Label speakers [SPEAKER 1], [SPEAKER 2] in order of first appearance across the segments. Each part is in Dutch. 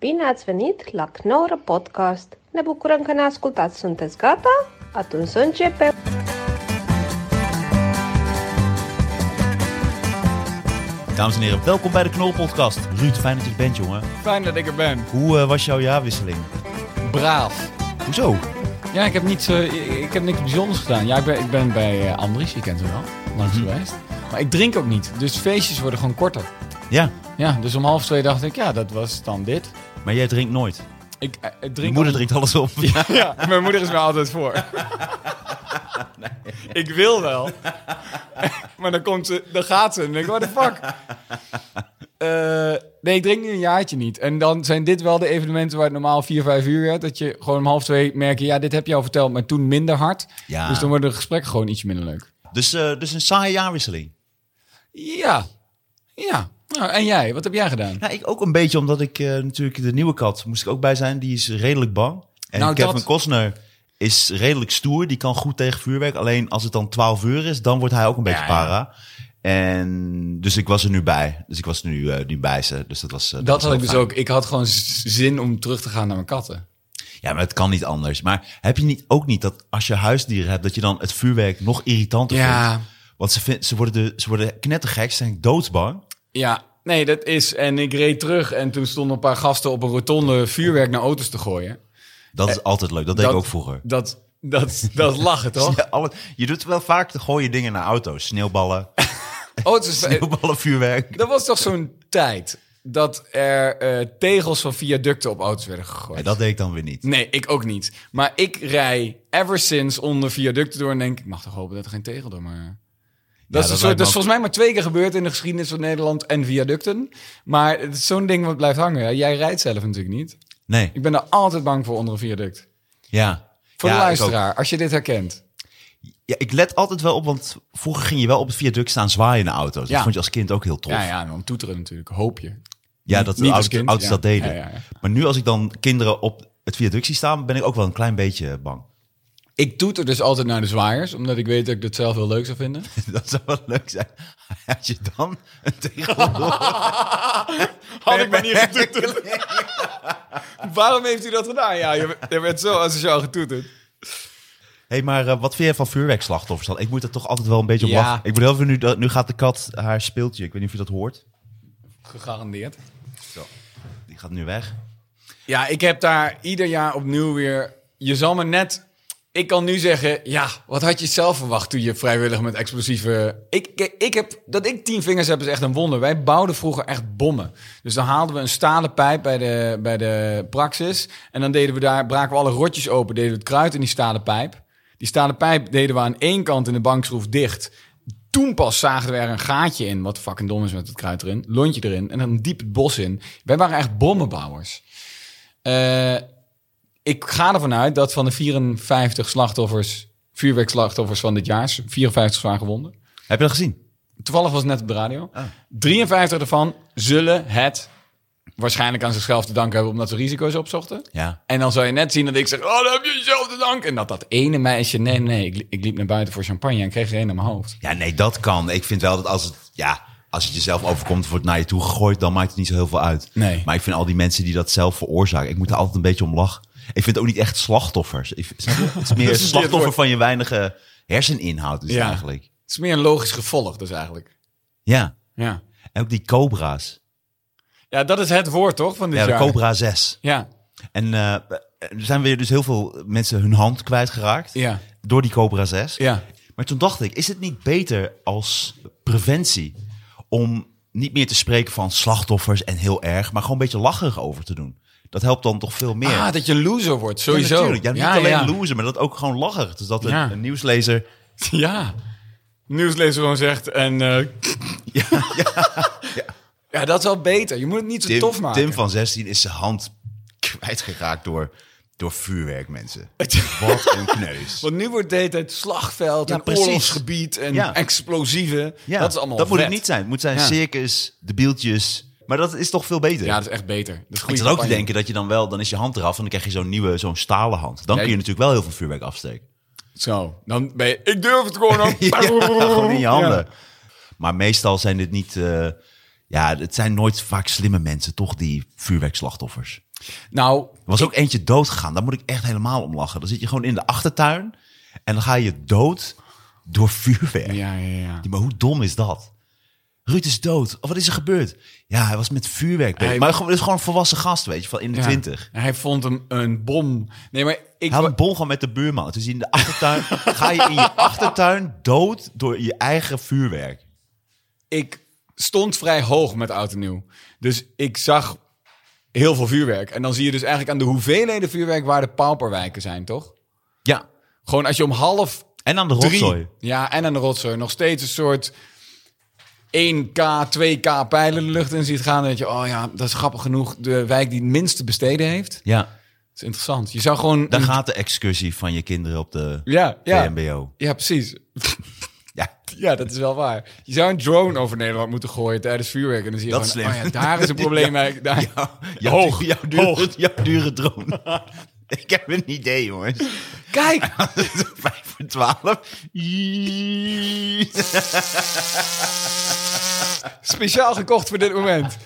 [SPEAKER 1] Bine ați venit la Knorr Podcast! Ne bucurăm că ne ascultați! Sunteți gata? Atunci să începem!
[SPEAKER 2] Dames en heren, welkom bij de Knolpodcast. Ruud, fijn dat je er bent, jongen.
[SPEAKER 3] Fijn dat ik er ben.
[SPEAKER 2] Hoe eh, was jouw jaarwisseling?
[SPEAKER 3] Braaf.
[SPEAKER 2] Hoezo?
[SPEAKER 3] Ja, ik heb, niets, eh, ik heb niks bijzonders gedaan. Ja, ik ben, ik ben bij eh, Andries, je kent hem wel, langs
[SPEAKER 2] Mhm.
[SPEAKER 3] geweest. Maar ik drink ook niet, dus feestjes worden gewoon korter.
[SPEAKER 2] Ja,
[SPEAKER 3] Ja, dus om half twee dacht ik, ja, dat was dan dit.
[SPEAKER 2] maar jij drinkt nooit.
[SPEAKER 3] Ik eh, drink
[SPEAKER 2] Je moeder
[SPEAKER 3] ook-
[SPEAKER 2] drinkt alles op.
[SPEAKER 3] Ja, mijn moeder is me altijd voor. Ik wil wel. maar dan, komt ze, dan gaat ze en dan denk ik, what the fuck? Eh, nee, ik drink nu een jaartje niet. En dan zijn dit wel de evenementen waar het normaal 4, 5 uur werd. Dat je gewoon om half twee merkt, ja, dit heb je al verteld, maar toen minder hard.
[SPEAKER 2] Ja.
[SPEAKER 3] Dus dan worden de gesprekken gewoon iets minder leuk.
[SPEAKER 2] Dus, eh, dus een saaie jaarwisseling.
[SPEAKER 3] Ja, ja. Nou, en jij, wat heb jij gedaan?
[SPEAKER 2] Nou, ik ook een beetje, omdat ik eh, natuurlijk de nieuwe kat moest ik ook bij zijn. Die is redelijk bang. En
[SPEAKER 3] Nou,
[SPEAKER 2] Kevin
[SPEAKER 3] dat-
[SPEAKER 2] Costner is redelijk stoer. Die kan goed tegen vuurwerk. Alleen als het dan 12 uur is, dan wordt hij ook een beetje
[SPEAKER 3] Ja, ja.
[SPEAKER 2] para. En dus ik was er nu bij. Dus ik was nu, eh, nu bij ze. Dus dat was. eh,
[SPEAKER 3] Dat
[SPEAKER 2] was
[SPEAKER 3] had
[SPEAKER 2] wel
[SPEAKER 3] ik dus
[SPEAKER 2] fijn.
[SPEAKER 3] ook. Ik had gewoon z- zin om terug te gaan naar mijn katten.
[SPEAKER 2] Ja, maar het kan niet anders. Maar heb je niet, ook niet dat als je huisdieren hebt, dat je dan het vuurwerk nog irritanter vindt? Want ze, vind, ze worden, de, ze worden knettergek, ze zijn doodsbang.
[SPEAKER 3] Ja, nee, dat is. En ik reed terug en toen stonden een paar gasten op een rotonde vuurwerk naar auto's te gooien.
[SPEAKER 2] Dat is altijd leuk, dat deed ik ook vroeger.
[SPEAKER 3] Eh, Dat, dat, dat is lachen, toch?
[SPEAKER 2] Ja, alle, je doet wel vaak de gooien dingen naar auto's. Sneeuwballen,
[SPEAKER 3] Oh, het is,
[SPEAKER 2] sneeuwballen, vuurwerk.
[SPEAKER 3] dat was toch zo'n tijd dat er eh, tegels van viaducten op auto's werden gegooid.
[SPEAKER 2] Ja, dat deed ik dan weer niet.
[SPEAKER 3] Nee, ik ook niet. Maar ik rij ever since onder viaducten door en denk, ik mag toch hopen dat er geen tegel door maar... Dat,
[SPEAKER 2] dat
[SPEAKER 3] is,
[SPEAKER 2] lijkt
[SPEAKER 3] een soort-
[SPEAKER 2] me
[SPEAKER 3] dat is
[SPEAKER 2] ook-
[SPEAKER 3] volgens mij maar twee keer gebeurd in de geschiedenis van Nederland en viaducten. Maar het is zo'n ding wat blijft hangen. Ja, Jij rijdt zelf natuurlijk niet.
[SPEAKER 2] Nee,
[SPEAKER 3] Ik ben er altijd bang voor onder een viaduct.
[SPEAKER 2] ja.
[SPEAKER 3] Voor
[SPEAKER 2] ja,
[SPEAKER 3] de
[SPEAKER 2] ik ook.
[SPEAKER 3] luisteraar, als je dit herkent.
[SPEAKER 2] ja, ik let altijd wel op, want vroeger ging je wel op het viaduct staan zwaaien naar auto's. Dat
[SPEAKER 3] Ja.
[SPEAKER 2] vond je als kind ook heel tof.
[SPEAKER 3] Ja, ja, en dan toeteren natuurlijk, hoop je.
[SPEAKER 2] Ja, dat de
[SPEAKER 3] Niet als
[SPEAKER 2] ouders,
[SPEAKER 3] kind,
[SPEAKER 2] ouders
[SPEAKER 3] ja.
[SPEAKER 2] dat deden.
[SPEAKER 3] Ja, ja, ja.
[SPEAKER 2] Maar nu als ik dan kinderen op het viaduct zie staan, ben ik ook wel een klein beetje bang.
[SPEAKER 3] Ik toeter dus altijd naar de zwaaiers, omdat ik weet dat ik dat zelf heel leuk zou vinden.
[SPEAKER 2] Dat zou wel leuk zijn. Als je dan een tegel door-
[SPEAKER 3] Had ik maar niet getoeterd. Waarom heeft u dat gedaan? Ja, je, je bent zo asociaal getoeterd.
[SPEAKER 2] hey, maar eh, wat vind jij van vuurwerkslachtoffers dan? Ik moet er toch altijd wel een beetje op
[SPEAKER 3] Ja.
[SPEAKER 2] lachen. Ik moet heel veel nu, dat- nu gaat de kat haar speeltje. Ik weet niet of je dat hoort.
[SPEAKER 3] Gegarandeerd.
[SPEAKER 2] Zo. Die gaat nu weg.
[SPEAKER 3] Ja, ik heb daar ieder jaar opnieuw weer... Je zal me net... Ik kan nu zeggen, ja, wat had je zelf verwacht toen je vrijwillig met explosieve... Ik, ik, ik heb, dat ik tien vingers heb is echt een wonder. Wij bouwden vroeger echt bommen. Dus dan haalden we een stalen pijp bij de, bij de praxis. En dan deden we daar, braken we alle rotjes open, deden we het kruid in die stalen pijp. Die stalen pijp deden we aan één kant in de bankschroef dicht. Toen pas zagen we er een gaatje in, wat fucking dom is met het kruid erin. Lontje erin en dan diep het bos in. Wij waren echt bommenbouwers. Eh, ik ga ervan uit dat van de 54 slachtoffers, vuurwerkslachtoffers van dit jaar, 54 zwaar gewonden.
[SPEAKER 2] Heb je dat gezien?
[SPEAKER 3] Toevallig was het net op de radio. 53 daarvan zullen het waarschijnlijk aan zichzelf te danken hebben omdat ze risico's opzochten.
[SPEAKER 2] Ja.
[SPEAKER 3] En dan zal je net zien dat ik zeg, oh, dan heb je jezelf te danken. En dat dat ene meisje, nee, nee, ik, li- ik liep naar buiten voor champagne en kreeg er een aan mijn hoofd.
[SPEAKER 2] Ja, nee, dat kan. Ik vind wel dat als het, ja, als het jezelf overkomt, wordt naar je toe gegooid, dan maakt het niet zo heel veel uit.
[SPEAKER 3] Nee.
[SPEAKER 2] Maar ik vind al die mensen die dat zelf veroorzaken, ik moet er altijd een beetje om lachen. Ik vind het ook niet echt slachtoffers. Ik, snap je? het is meer
[SPEAKER 3] is een
[SPEAKER 2] slachtoffer
[SPEAKER 3] woord.
[SPEAKER 2] van je weinige herseninhoud is het
[SPEAKER 3] Ja.
[SPEAKER 2] eigenlijk.
[SPEAKER 3] Het is meer een logisch gevolg dus eigenlijk.
[SPEAKER 2] Ja.
[SPEAKER 3] Ja,
[SPEAKER 2] En ook die cobra's.
[SPEAKER 3] ja dat is het woord toch van dit
[SPEAKER 2] Ja, de
[SPEAKER 3] jaar?
[SPEAKER 2] cobra 6.
[SPEAKER 3] Ja,
[SPEAKER 2] En eh, er zijn weer dus heel veel mensen hun hand kwijtgeraakt
[SPEAKER 3] ja,
[SPEAKER 2] door die cobra 6.
[SPEAKER 3] ja.
[SPEAKER 2] Maar toen dacht ik, is het niet beter als preventie om niet meer te spreken van slachtoffers en heel erg, maar gewoon een beetje lacherig over te doen? Dat helpt dan toch veel meer.
[SPEAKER 3] Ah, dat je een loser wordt,
[SPEAKER 2] Ja,
[SPEAKER 3] sowieso.
[SPEAKER 2] natuurlijk. Ja, niet alleen loser, maar dat ook gewoon lacherig. Dus dat een,
[SPEAKER 3] Ja.
[SPEAKER 2] een nieuwslezer.
[SPEAKER 3] Ja. Nieuwslezer gewoon zegt en...
[SPEAKER 2] eh,
[SPEAKER 3] ja, ja, ja. dat is wel beter. Je moet het niet zo
[SPEAKER 2] Tim,
[SPEAKER 3] tof maken.
[SPEAKER 2] Tim van 16 is zijn hand kwijtgeraakt door, door vuurwerk, mensen. Wat een kneus.
[SPEAKER 3] Want nu wordt de hele tijd slagveld
[SPEAKER 2] Ja,
[SPEAKER 3] en
[SPEAKER 2] precies.
[SPEAKER 3] oorlogsgebied en
[SPEAKER 2] Ja.
[SPEAKER 3] explosieven.
[SPEAKER 2] Ja,
[SPEAKER 3] dat is allemaal
[SPEAKER 2] dat moet
[SPEAKER 3] vet.
[SPEAKER 2] het niet zijn. Het moet zijn
[SPEAKER 3] Ja.
[SPEAKER 2] circus, debieltjes. Maar dat is toch veel beter.
[SPEAKER 3] Ja, dat is echt beter. Dat is
[SPEAKER 2] Ik
[SPEAKER 3] goede
[SPEAKER 2] zat ook te
[SPEAKER 3] campagne.
[SPEAKER 2] denken dat je dan wel, dan is je hand eraf en dan krijg je zo'n nieuwe, zo'n stalen hand. Dan
[SPEAKER 3] Ja,
[SPEAKER 2] kun je
[SPEAKER 3] ik-
[SPEAKER 2] natuurlijk wel heel veel vuurwerk afsteken.
[SPEAKER 3] Zo, dan ben je... Ik durf het gewoon ook.
[SPEAKER 2] Ja, gewoon in je
[SPEAKER 3] Ja.
[SPEAKER 2] handen. Maar meestal zijn dit niet eh, Ja, het zijn nooit vaak slimme mensen, toch, die vuurwerkslachtoffers.
[SPEAKER 3] Nou,
[SPEAKER 2] Er was ook eentje doodgegaan. Daar moet ik echt helemaal om lachen. Dan zit je gewoon in de achtertuin en dan ga je dood door vuurwerk.
[SPEAKER 3] ja, ja, ja.
[SPEAKER 2] Maar hoe dom is dat? Ruud is dood. Of wat is er gebeurd? Ja, hij was met vuurwerk bezig.
[SPEAKER 3] Hij-
[SPEAKER 2] Maar gewoon- het is gewoon een volwassen gast, weet je, van in de
[SPEAKER 3] Ja.
[SPEAKER 2] twintig.
[SPEAKER 3] Hij vond hem een bom. Nee, maar ik...
[SPEAKER 2] Hij had een bol gewoon met de buurman. Dus in de achtertuin ga je in je achtertuin dood door je eigen vuurwerk.
[SPEAKER 3] ik stond vrij hoog met oud en nieuw. Dus ik zag heel veel vuurwerk. En dan zie je dus eigenlijk aan de hoeveelheden vuurwerk waar de pauperwijken zijn, toch?
[SPEAKER 2] Ja.
[SPEAKER 3] Gewoon als je om half
[SPEAKER 2] En aan de
[SPEAKER 3] drie...
[SPEAKER 2] rotzooi.
[SPEAKER 3] Ja, en aan de rotzooi. Nog steeds een soort 1K, 2K pijlen de lucht in ziet gaan. Dan denk je, oh ja, dat is grappig genoeg de wijk die het minste besteden heeft. Dat
[SPEAKER 2] Ja.
[SPEAKER 3] is interessant. Je zou gewoon...
[SPEAKER 2] Daar
[SPEAKER 3] een-
[SPEAKER 2] gaat de excursie van je kinderen op de
[SPEAKER 3] Ja, ja.
[SPEAKER 2] VMBO.
[SPEAKER 3] Ja, precies.
[SPEAKER 2] Ja.
[SPEAKER 3] Ja, dat is wel waar. Je zou een drone over Nederland moeten gooien tijdens vuurwerk. En dan zie je
[SPEAKER 2] Dat
[SPEAKER 3] gewoon,
[SPEAKER 2] is slim.
[SPEAKER 3] oh ja, daar is een probleem eigenlijk. Daar.
[SPEAKER 2] Jouw,
[SPEAKER 3] Hoog,
[SPEAKER 2] jouw, dure,
[SPEAKER 3] hoog.
[SPEAKER 2] jouw dure drone. ik heb een idee, jongens.
[SPEAKER 3] Kijk!
[SPEAKER 2] Vijf voor twaalf. Iiiiit.
[SPEAKER 3] Speciaal gekocht voor dit moment.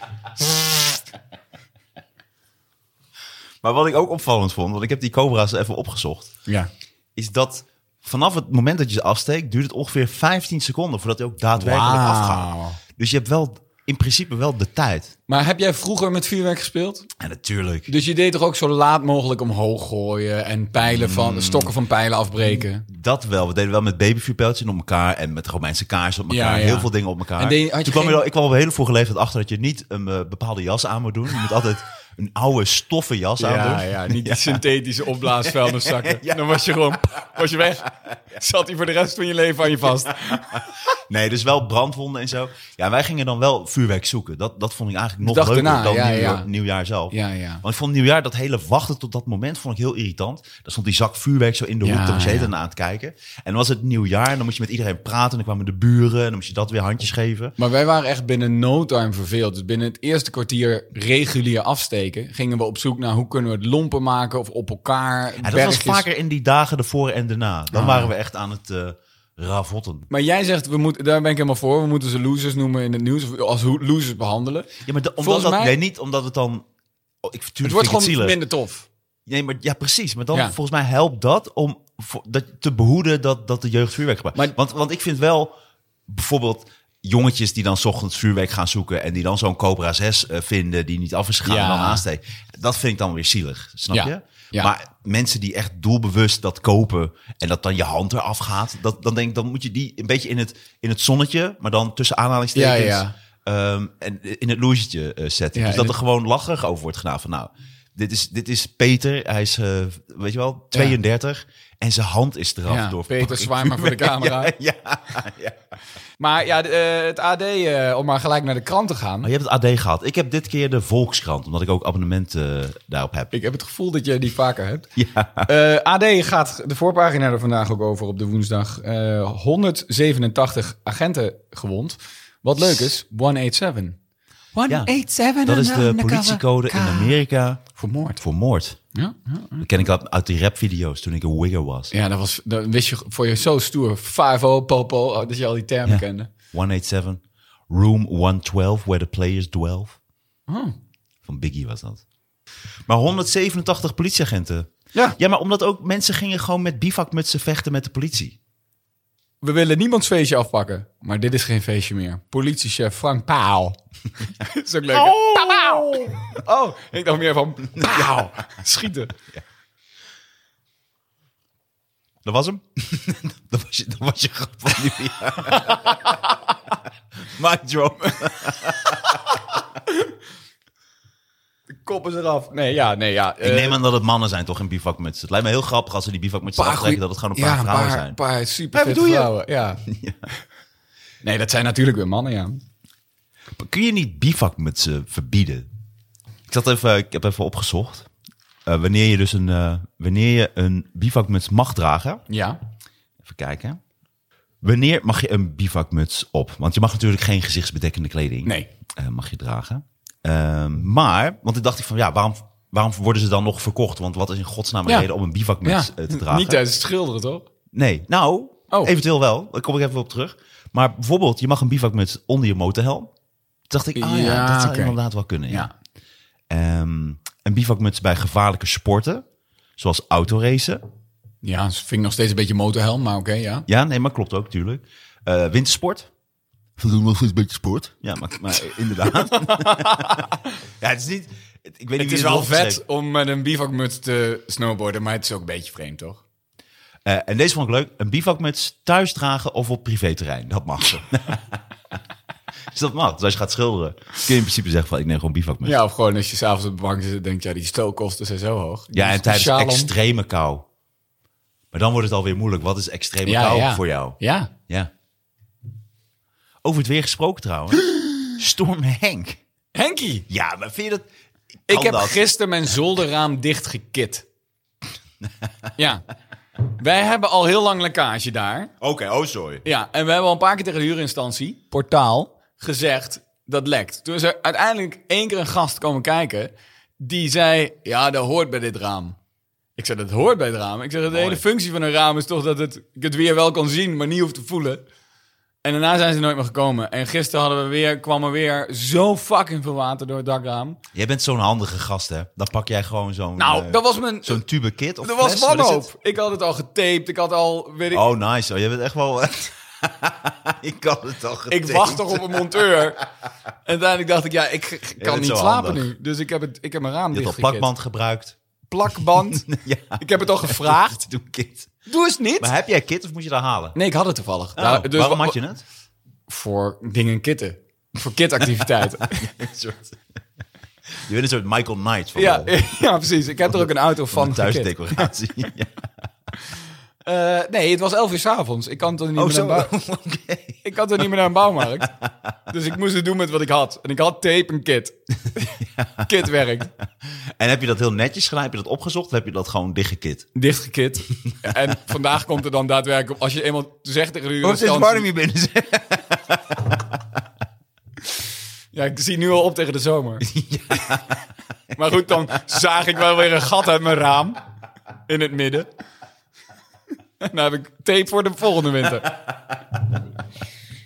[SPEAKER 2] Maar wat ik ook opvallend vond, want ik heb die cobra's even opgezocht,
[SPEAKER 3] Ja.
[SPEAKER 2] is dat vanaf het moment dat je ze afsteekt, duurt het ongeveer 15 seconden voordat hij ook daadwerkelijk
[SPEAKER 3] Wauw.
[SPEAKER 2] afgaat. Dus je hebt wel, in principe wel de tijd.
[SPEAKER 3] Maar heb jij vroeger met vuurwerk gespeeld?
[SPEAKER 2] En natuurlijk.
[SPEAKER 3] Dus je deed toch ook zo laat mogelijk omhoog gooien en pijlen van, stokken van pijlen afbreken?
[SPEAKER 2] Dat wel. We deden wel met babyvuurpijltjes op elkaar en met Romeinse kaarsen op elkaar.
[SPEAKER 3] Ja, ja.
[SPEAKER 2] Heel veel dingen op elkaar.
[SPEAKER 3] En deed- had je
[SPEAKER 2] Toen kwam
[SPEAKER 3] geen-
[SPEAKER 2] je wel, ik kwam op een hele vroege leeftijd achter dat je niet een eh, bepaalde jas aan moet doen. Je moet altijd een oude stoffen jas aan
[SPEAKER 3] Ja,
[SPEAKER 2] doen.
[SPEAKER 3] ja, niet die synthetische opblaasvuilniszakken. Dan was je gewoon, was je weg. Zat hij voor de rest van je leven aan je vast.
[SPEAKER 2] Nee, dus wel brandwonden en zo. Ja, wij gingen dan wel vuurwerk zoeken. Dat, dat vond ik eigenlijk nog
[SPEAKER 3] De dag
[SPEAKER 2] leuker
[SPEAKER 3] daarna,
[SPEAKER 2] dan
[SPEAKER 3] ja,
[SPEAKER 2] nieuwjaar,
[SPEAKER 3] ja.
[SPEAKER 2] nieuwjaar zelf.
[SPEAKER 3] Ja, ja.
[SPEAKER 2] Want ik vond nieuwjaar, dat hele wachten tot dat moment, vond ik heel irritant. Daar stond die zak vuurwerk zo in de
[SPEAKER 3] Ja,
[SPEAKER 2] hoek, daar was je
[SPEAKER 3] ja.
[SPEAKER 2] dan aan het kijken. En dan was het nieuwjaar en dan moest je met iedereen praten. En dan kwamen de buren en dan moest je dat weer handjes geven.
[SPEAKER 3] Maar wij waren echt binnen no time verveeld. Dus binnen het eerste kwartier regulier afsteken... gingen we op zoek naar hoe kunnen we het lompen maken of op elkaar.
[SPEAKER 2] Ja, dat
[SPEAKER 3] bergjes. Ah.
[SPEAKER 2] was vaker in die dagen ervoor en daarna. Dan waren we echt aan het eh, ravotten.
[SPEAKER 3] Maar jij zegt, we moeten, daar ben ik helemaal voor... we moeten ze losers noemen in het nieuws, of als ho- losers behandelen.
[SPEAKER 2] Ja, maar da- omdat
[SPEAKER 3] Volgens
[SPEAKER 2] dat,
[SPEAKER 3] mij-
[SPEAKER 2] nee, niet omdat het dan... Oh, ik,
[SPEAKER 3] Het
[SPEAKER 2] tuurlijk
[SPEAKER 3] wordt
[SPEAKER 2] vind ik
[SPEAKER 3] gewoon
[SPEAKER 2] zielig.
[SPEAKER 3] minder tof.
[SPEAKER 2] Nee, maar, ja, precies. Maar dan
[SPEAKER 3] Ja.
[SPEAKER 2] volgens mij helpt dat om voor- dat, te behoeden dat, dat de jeugd vuurwerk gebruikt.
[SPEAKER 3] Maar-
[SPEAKER 2] want, want ik vind wel bijvoorbeeld jongetjes die dan 's ochtends vuurwerk gaan zoeken... en die dan zo'n Cobra 6 eh, vinden die niet af is gegaan
[SPEAKER 3] Ja.
[SPEAKER 2] en dan aansteken. Dat vind ik dan weer zielig, snap
[SPEAKER 3] Ja.
[SPEAKER 2] je?
[SPEAKER 3] Ja.
[SPEAKER 2] Maar mensen die echt doelbewust dat kopen en dat dan je hand eraf gaat... Dat, dan denk ik, dan moet je die een beetje in het, in het zonnetje... maar dan tussen aanhalingstekens...
[SPEAKER 3] Ja, ja.
[SPEAKER 2] ehm, en in het loesje eh, zetten.
[SPEAKER 3] Ja,
[SPEAKER 2] dus dat
[SPEAKER 3] in
[SPEAKER 2] er gewoon lacherig over wordt gedaan. Van nou, dit is, dit is Peter. Hij is, eh, weet je wel, 32. En zijn hand is eraf
[SPEAKER 3] Ja,
[SPEAKER 2] door
[SPEAKER 3] Peter, zwaai maar voor de camera.
[SPEAKER 2] Ja, ja, ja.
[SPEAKER 3] Maar ja, de, eh, het AD, eh, om maar gelijk naar de krant te gaan...
[SPEAKER 2] Maar je hebt het AD gehad. Ik heb dit keer de Volkskrant, omdat ik ook abonnementen eh, daarop heb.
[SPEAKER 3] Ik heb het gevoel dat jij die vaker hebt.
[SPEAKER 2] Ja.
[SPEAKER 3] Eh, AD gaat de voorpagina er vandaag ook over op de woensdag. Eh, 187 agenten gewond. Wat leuk is, 187. 187
[SPEAKER 2] Dat is de
[SPEAKER 3] undercover.
[SPEAKER 2] politiecode in Amerika
[SPEAKER 3] Voor moord.
[SPEAKER 2] voor moord.
[SPEAKER 3] eh, Ja, ja.
[SPEAKER 2] Dat ken ik al uit die rapvideo's toen ik een wigger was.
[SPEAKER 3] ja dat was, dat wist je voor je zo stoer. 5-0, popo, oh, dat je al die termen
[SPEAKER 2] Ja.
[SPEAKER 3] kende.
[SPEAKER 2] 187, Room 112, Where the Players Dwell.
[SPEAKER 3] Oh.
[SPEAKER 2] Van Biggie was dat. Maar 187 politieagenten.
[SPEAKER 3] Ja,
[SPEAKER 2] Ja, maar omdat ook mensen gingen gewoon met bivakmutsen vechten met de politie.
[SPEAKER 3] we willen niemands feestje afpakken. Maar dit is geen feestje meer. Politiechef Frank Paal. dat is ook leuk. hè? Pauw! Oh, ik dacht meer van Paal. Schieten.
[SPEAKER 2] Dat was hem. dat, was je, dat was je grap van nu. Mic drop.
[SPEAKER 3] Koppen ze eraf. Nee, ja, nee, ja. eh,
[SPEAKER 2] Ik neem aan dat het mannen zijn toch in bivakmutsen. Het lijkt me heel grappig als ze die bivakmutsen
[SPEAKER 3] paar
[SPEAKER 2] aftrekken
[SPEAKER 3] goeie-
[SPEAKER 2] dat het gewoon een paar
[SPEAKER 3] ja,
[SPEAKER 2] vrouwen
[SPEAKER 3] paar,
[SPEAKER 2] zijn.
[SPEAKER 3] paar super
[SPEAKER 2] Hey,
[SPEAKER 3] vette
[SPEAKER 2] wat doe je?
[SPEAKER 3] vrouwen. Ja. Nee, dat zijn natuurlijk weer mannen, ja.
[SPEAKER 2] Kun je niet bivakmutsen verbieden? Ik, zat even, ik heb even opgezocht. Eh, wanneer je dus een, eh, wanneer je een bivakmuts mag dragen.
[SPEAKER 3] Ja.
[SPEAKER 2] Even kijken. Wanneer mag je een bivakmuts op? Want je mag natuurlijk geen gezichtsbedekkende kleding.
[SPEAKER 3] Nee.
[SPEAKER 2] eh, mag je dragen. Ehm, maar, want ik dacht ik van ja, waarom, waarom worden ze dan nog verkocht? Want wat is in godsnaam een
[SPEAKER 3] Ja.
[SPEAKER 2] reden om een bivakmuts eh, te dragen?
[SPEAKER 3] Niet tijdens het schilderen, toch?
[SPEAKER 2] Nee, nou,
[SPEAKER 3] Oh.
[SPEAKER 2] eventueel wel. Daar kom ik even op terug. Maar bijvoorbeeld, je mag een bivakmuts onder je motorhelm. Toen dacht ik, ah ja,
[SPEAKER 3] Ja,
[SPEAKER 2] dat zou
[SPEAKER 3] oké.
[SPEAKER 2] inderdaad wel kunnen. Ja.
[SPEAKER 3] Ja.
[SPEAKER 2] Ehm, een bivakmuts bij gevaarlijke sporten, zoals autoracen.
[SPEAKER 3] Ja, dus vind ik nog steeds een beetje motorhelm, maar oké, ja.
[SPEAKER 2] Ja, nee, maar klopt ook, tuurlijk. Eh wintersport. We doen wel eens een beetje sport. Ja, maar, maar inderdaad. ja, het is niet... het- Ik weet niet
[SPEAKER 3] Het
[SPEAKER 2] wie
[SPEAKER 3] is wel
[SPEAKER 2] opgeschreven-
[SPEAKER 3] vet om met een bivakmuts te snowboarden, maar het is ook een beetje vreemd, toch?
[SPEAKER 2] Eh, en deze vond ik leuk. Een bivakmuts thuis dragen of op privéterrein. Dat mag. dus dat mag. Dus als je gaat schilderen, kun je in principe zeggen van ik neem gewoon bivakmuts.
[SPEAKER 3] Ja, of gewoon als je s'avonds op de bank zit en denkt, ja, die stookkosten zijn zo hoog.
[SPEAKER 2] Ja, en tijdens
[SPEAKER 3] Shalom.
[SPEAKER 2] extreme kou. Maar dan wordt het alweer moeilijk. Wat is extreme kou voor jou?
[SPEAKER 3] Ja.
[SPEAKER 2] Ja. Over het weer gesproken trouwens. Storm Henk.
[SPEAKER 3] Henkie,
[SPEAKER 2] Ja, maar vind je dat...
[SPEAKER 3] ik
[SPEAKER 2] Kan
[SPEAKER 3] heb
[SPEAKER 2] dat?
[SPEAKER 3] gisteren mijn zolderraam dichtgekit. ja. Wij hebben al heel lang lekkage daar.
[SPEAKER 2] Oké, oh sorry.
[SPEAKER 3] Ja, en we hebben al een paar keer tegen de huurinstantie, portaal, gezegd dat lekt. Toen is er uiteindelijk één keer een gast komen kijken die zei, ja, dat hoort bij dit raam. Ik zei, dat hoort bij het raam. Ik zeg, de hele functie van een raam is toch dat het, ik het weer wel kan zien, maar niet hoeft te voelen. En daarna zijn ze nooit meer gekomen. En gisteren hadden we weer, kwam er weer zo fucking veel water door het dakraam.
[SPEAKER 2] Jij bent zo'n handige gast, hè? Dan pak jij gewoon zo'n...
[SPEAKER 3] Nou,
[SPEAKER 2] eh,
[SPEAKER 3] dat was mijn...
[SPEAKER 2] Zo'n tube kit of
[SPEAKER 3] Dat was
[SPEAKER 2] fles, wat is het?
[SPEAKER 3] wanhoop. Ik had het al getaped. Ik had al, weet ik,
[SPEAKER 2] Oh, nice. Oh, jij bent echt wel... ik kan het al
[SPEAKER 3] ik wacht toch op een monteur. En uiteindelijk dacht ik, ja, ik, ik kan
[SPEAKER 2] bent
[SPEAKER 3] niet
[SPEAKER 2] zo
[SPEAKER 3] slapen
[SPEAKER 2] handig.
[SPEAKER 3] nu. Dus ik heb, het, ik heb mijn raam
[SPEAKER 2] Je hebt al
[SPEAKER 3] dichtgekit.
[SPEAKER 2] plakband gebruikt.
[SPEAKER 3] Plakband.
[SPEAKER 2] Ja,
[SPEAKER 3] ik heb het al gevraagd.
[SPEAKER 2] doe kit.
[SPEAKER 3] Doe eens niet.
[SPEAKER 2] Maar heb jij kit of moet je dat halen?
[SPEAKER 3] Nee, ik had het toevallig.
[SPEAKER 2] Oh,
[SPEAKER 3] Nou, dus
[SPEAKER 2] waarom
[SPEAKER 3] wa-
[SPEAKER 2] had je het?
[SPEAKER 3] Voor dingen kitten. Voor kitactiviteiten.
[SPEAKER 2] Een soort- je bent een soort Michael Knight van
[SPEAKER 3] ja,
[SPEAKER 2] de,
[SPEAKER 3] ja, precies. Ik heb er ook een auto
[SPEAKER 2] van
[SPEAKER 3] van
[SPEAKER 2] de
[SPEAKER 3] gekit.
[SPEAKER 2] thuisdecoratie. Ja. Oh,
[SPEAKER 3] Eh, nee, het was elf uur s'avonds. Ik kan toch niet
[SPEAKER 2] Oh,
[SPEAKER 3] meer naar
[SPEAKER 2] zo.
[SPEAKER 3] een bouw-
[SPEAKER 2] Oké.
[SPEAKER 3] Ik kan toch niet meer naar een bouwmarkt. Dus ik moest het doen met wat ik had. En ik had tape en kit. Kit werkt.
[SPEAKER 2] En heb je dat heel netjes gedaan? Heb je dat opgezocht? Of heb je dat gewoon dichtgekit?
[SPEAKER 3] dichtgekit. en vandaag komt er dan daadwerkelijk op. Als je eenmaal zegt tegen de
[SPEAKER 2] Hoe is warm
[SPEAKER 3] huurinstantie...
[SPEAKER 2] hier binnen?
[SPEAKER 3] Ja, ik zie nu al op tegen de zomer. maar goed, dan zaag ik wel weer een gat uit mijn raam. In het midden. En dan heb ik tape voor de volgende winter.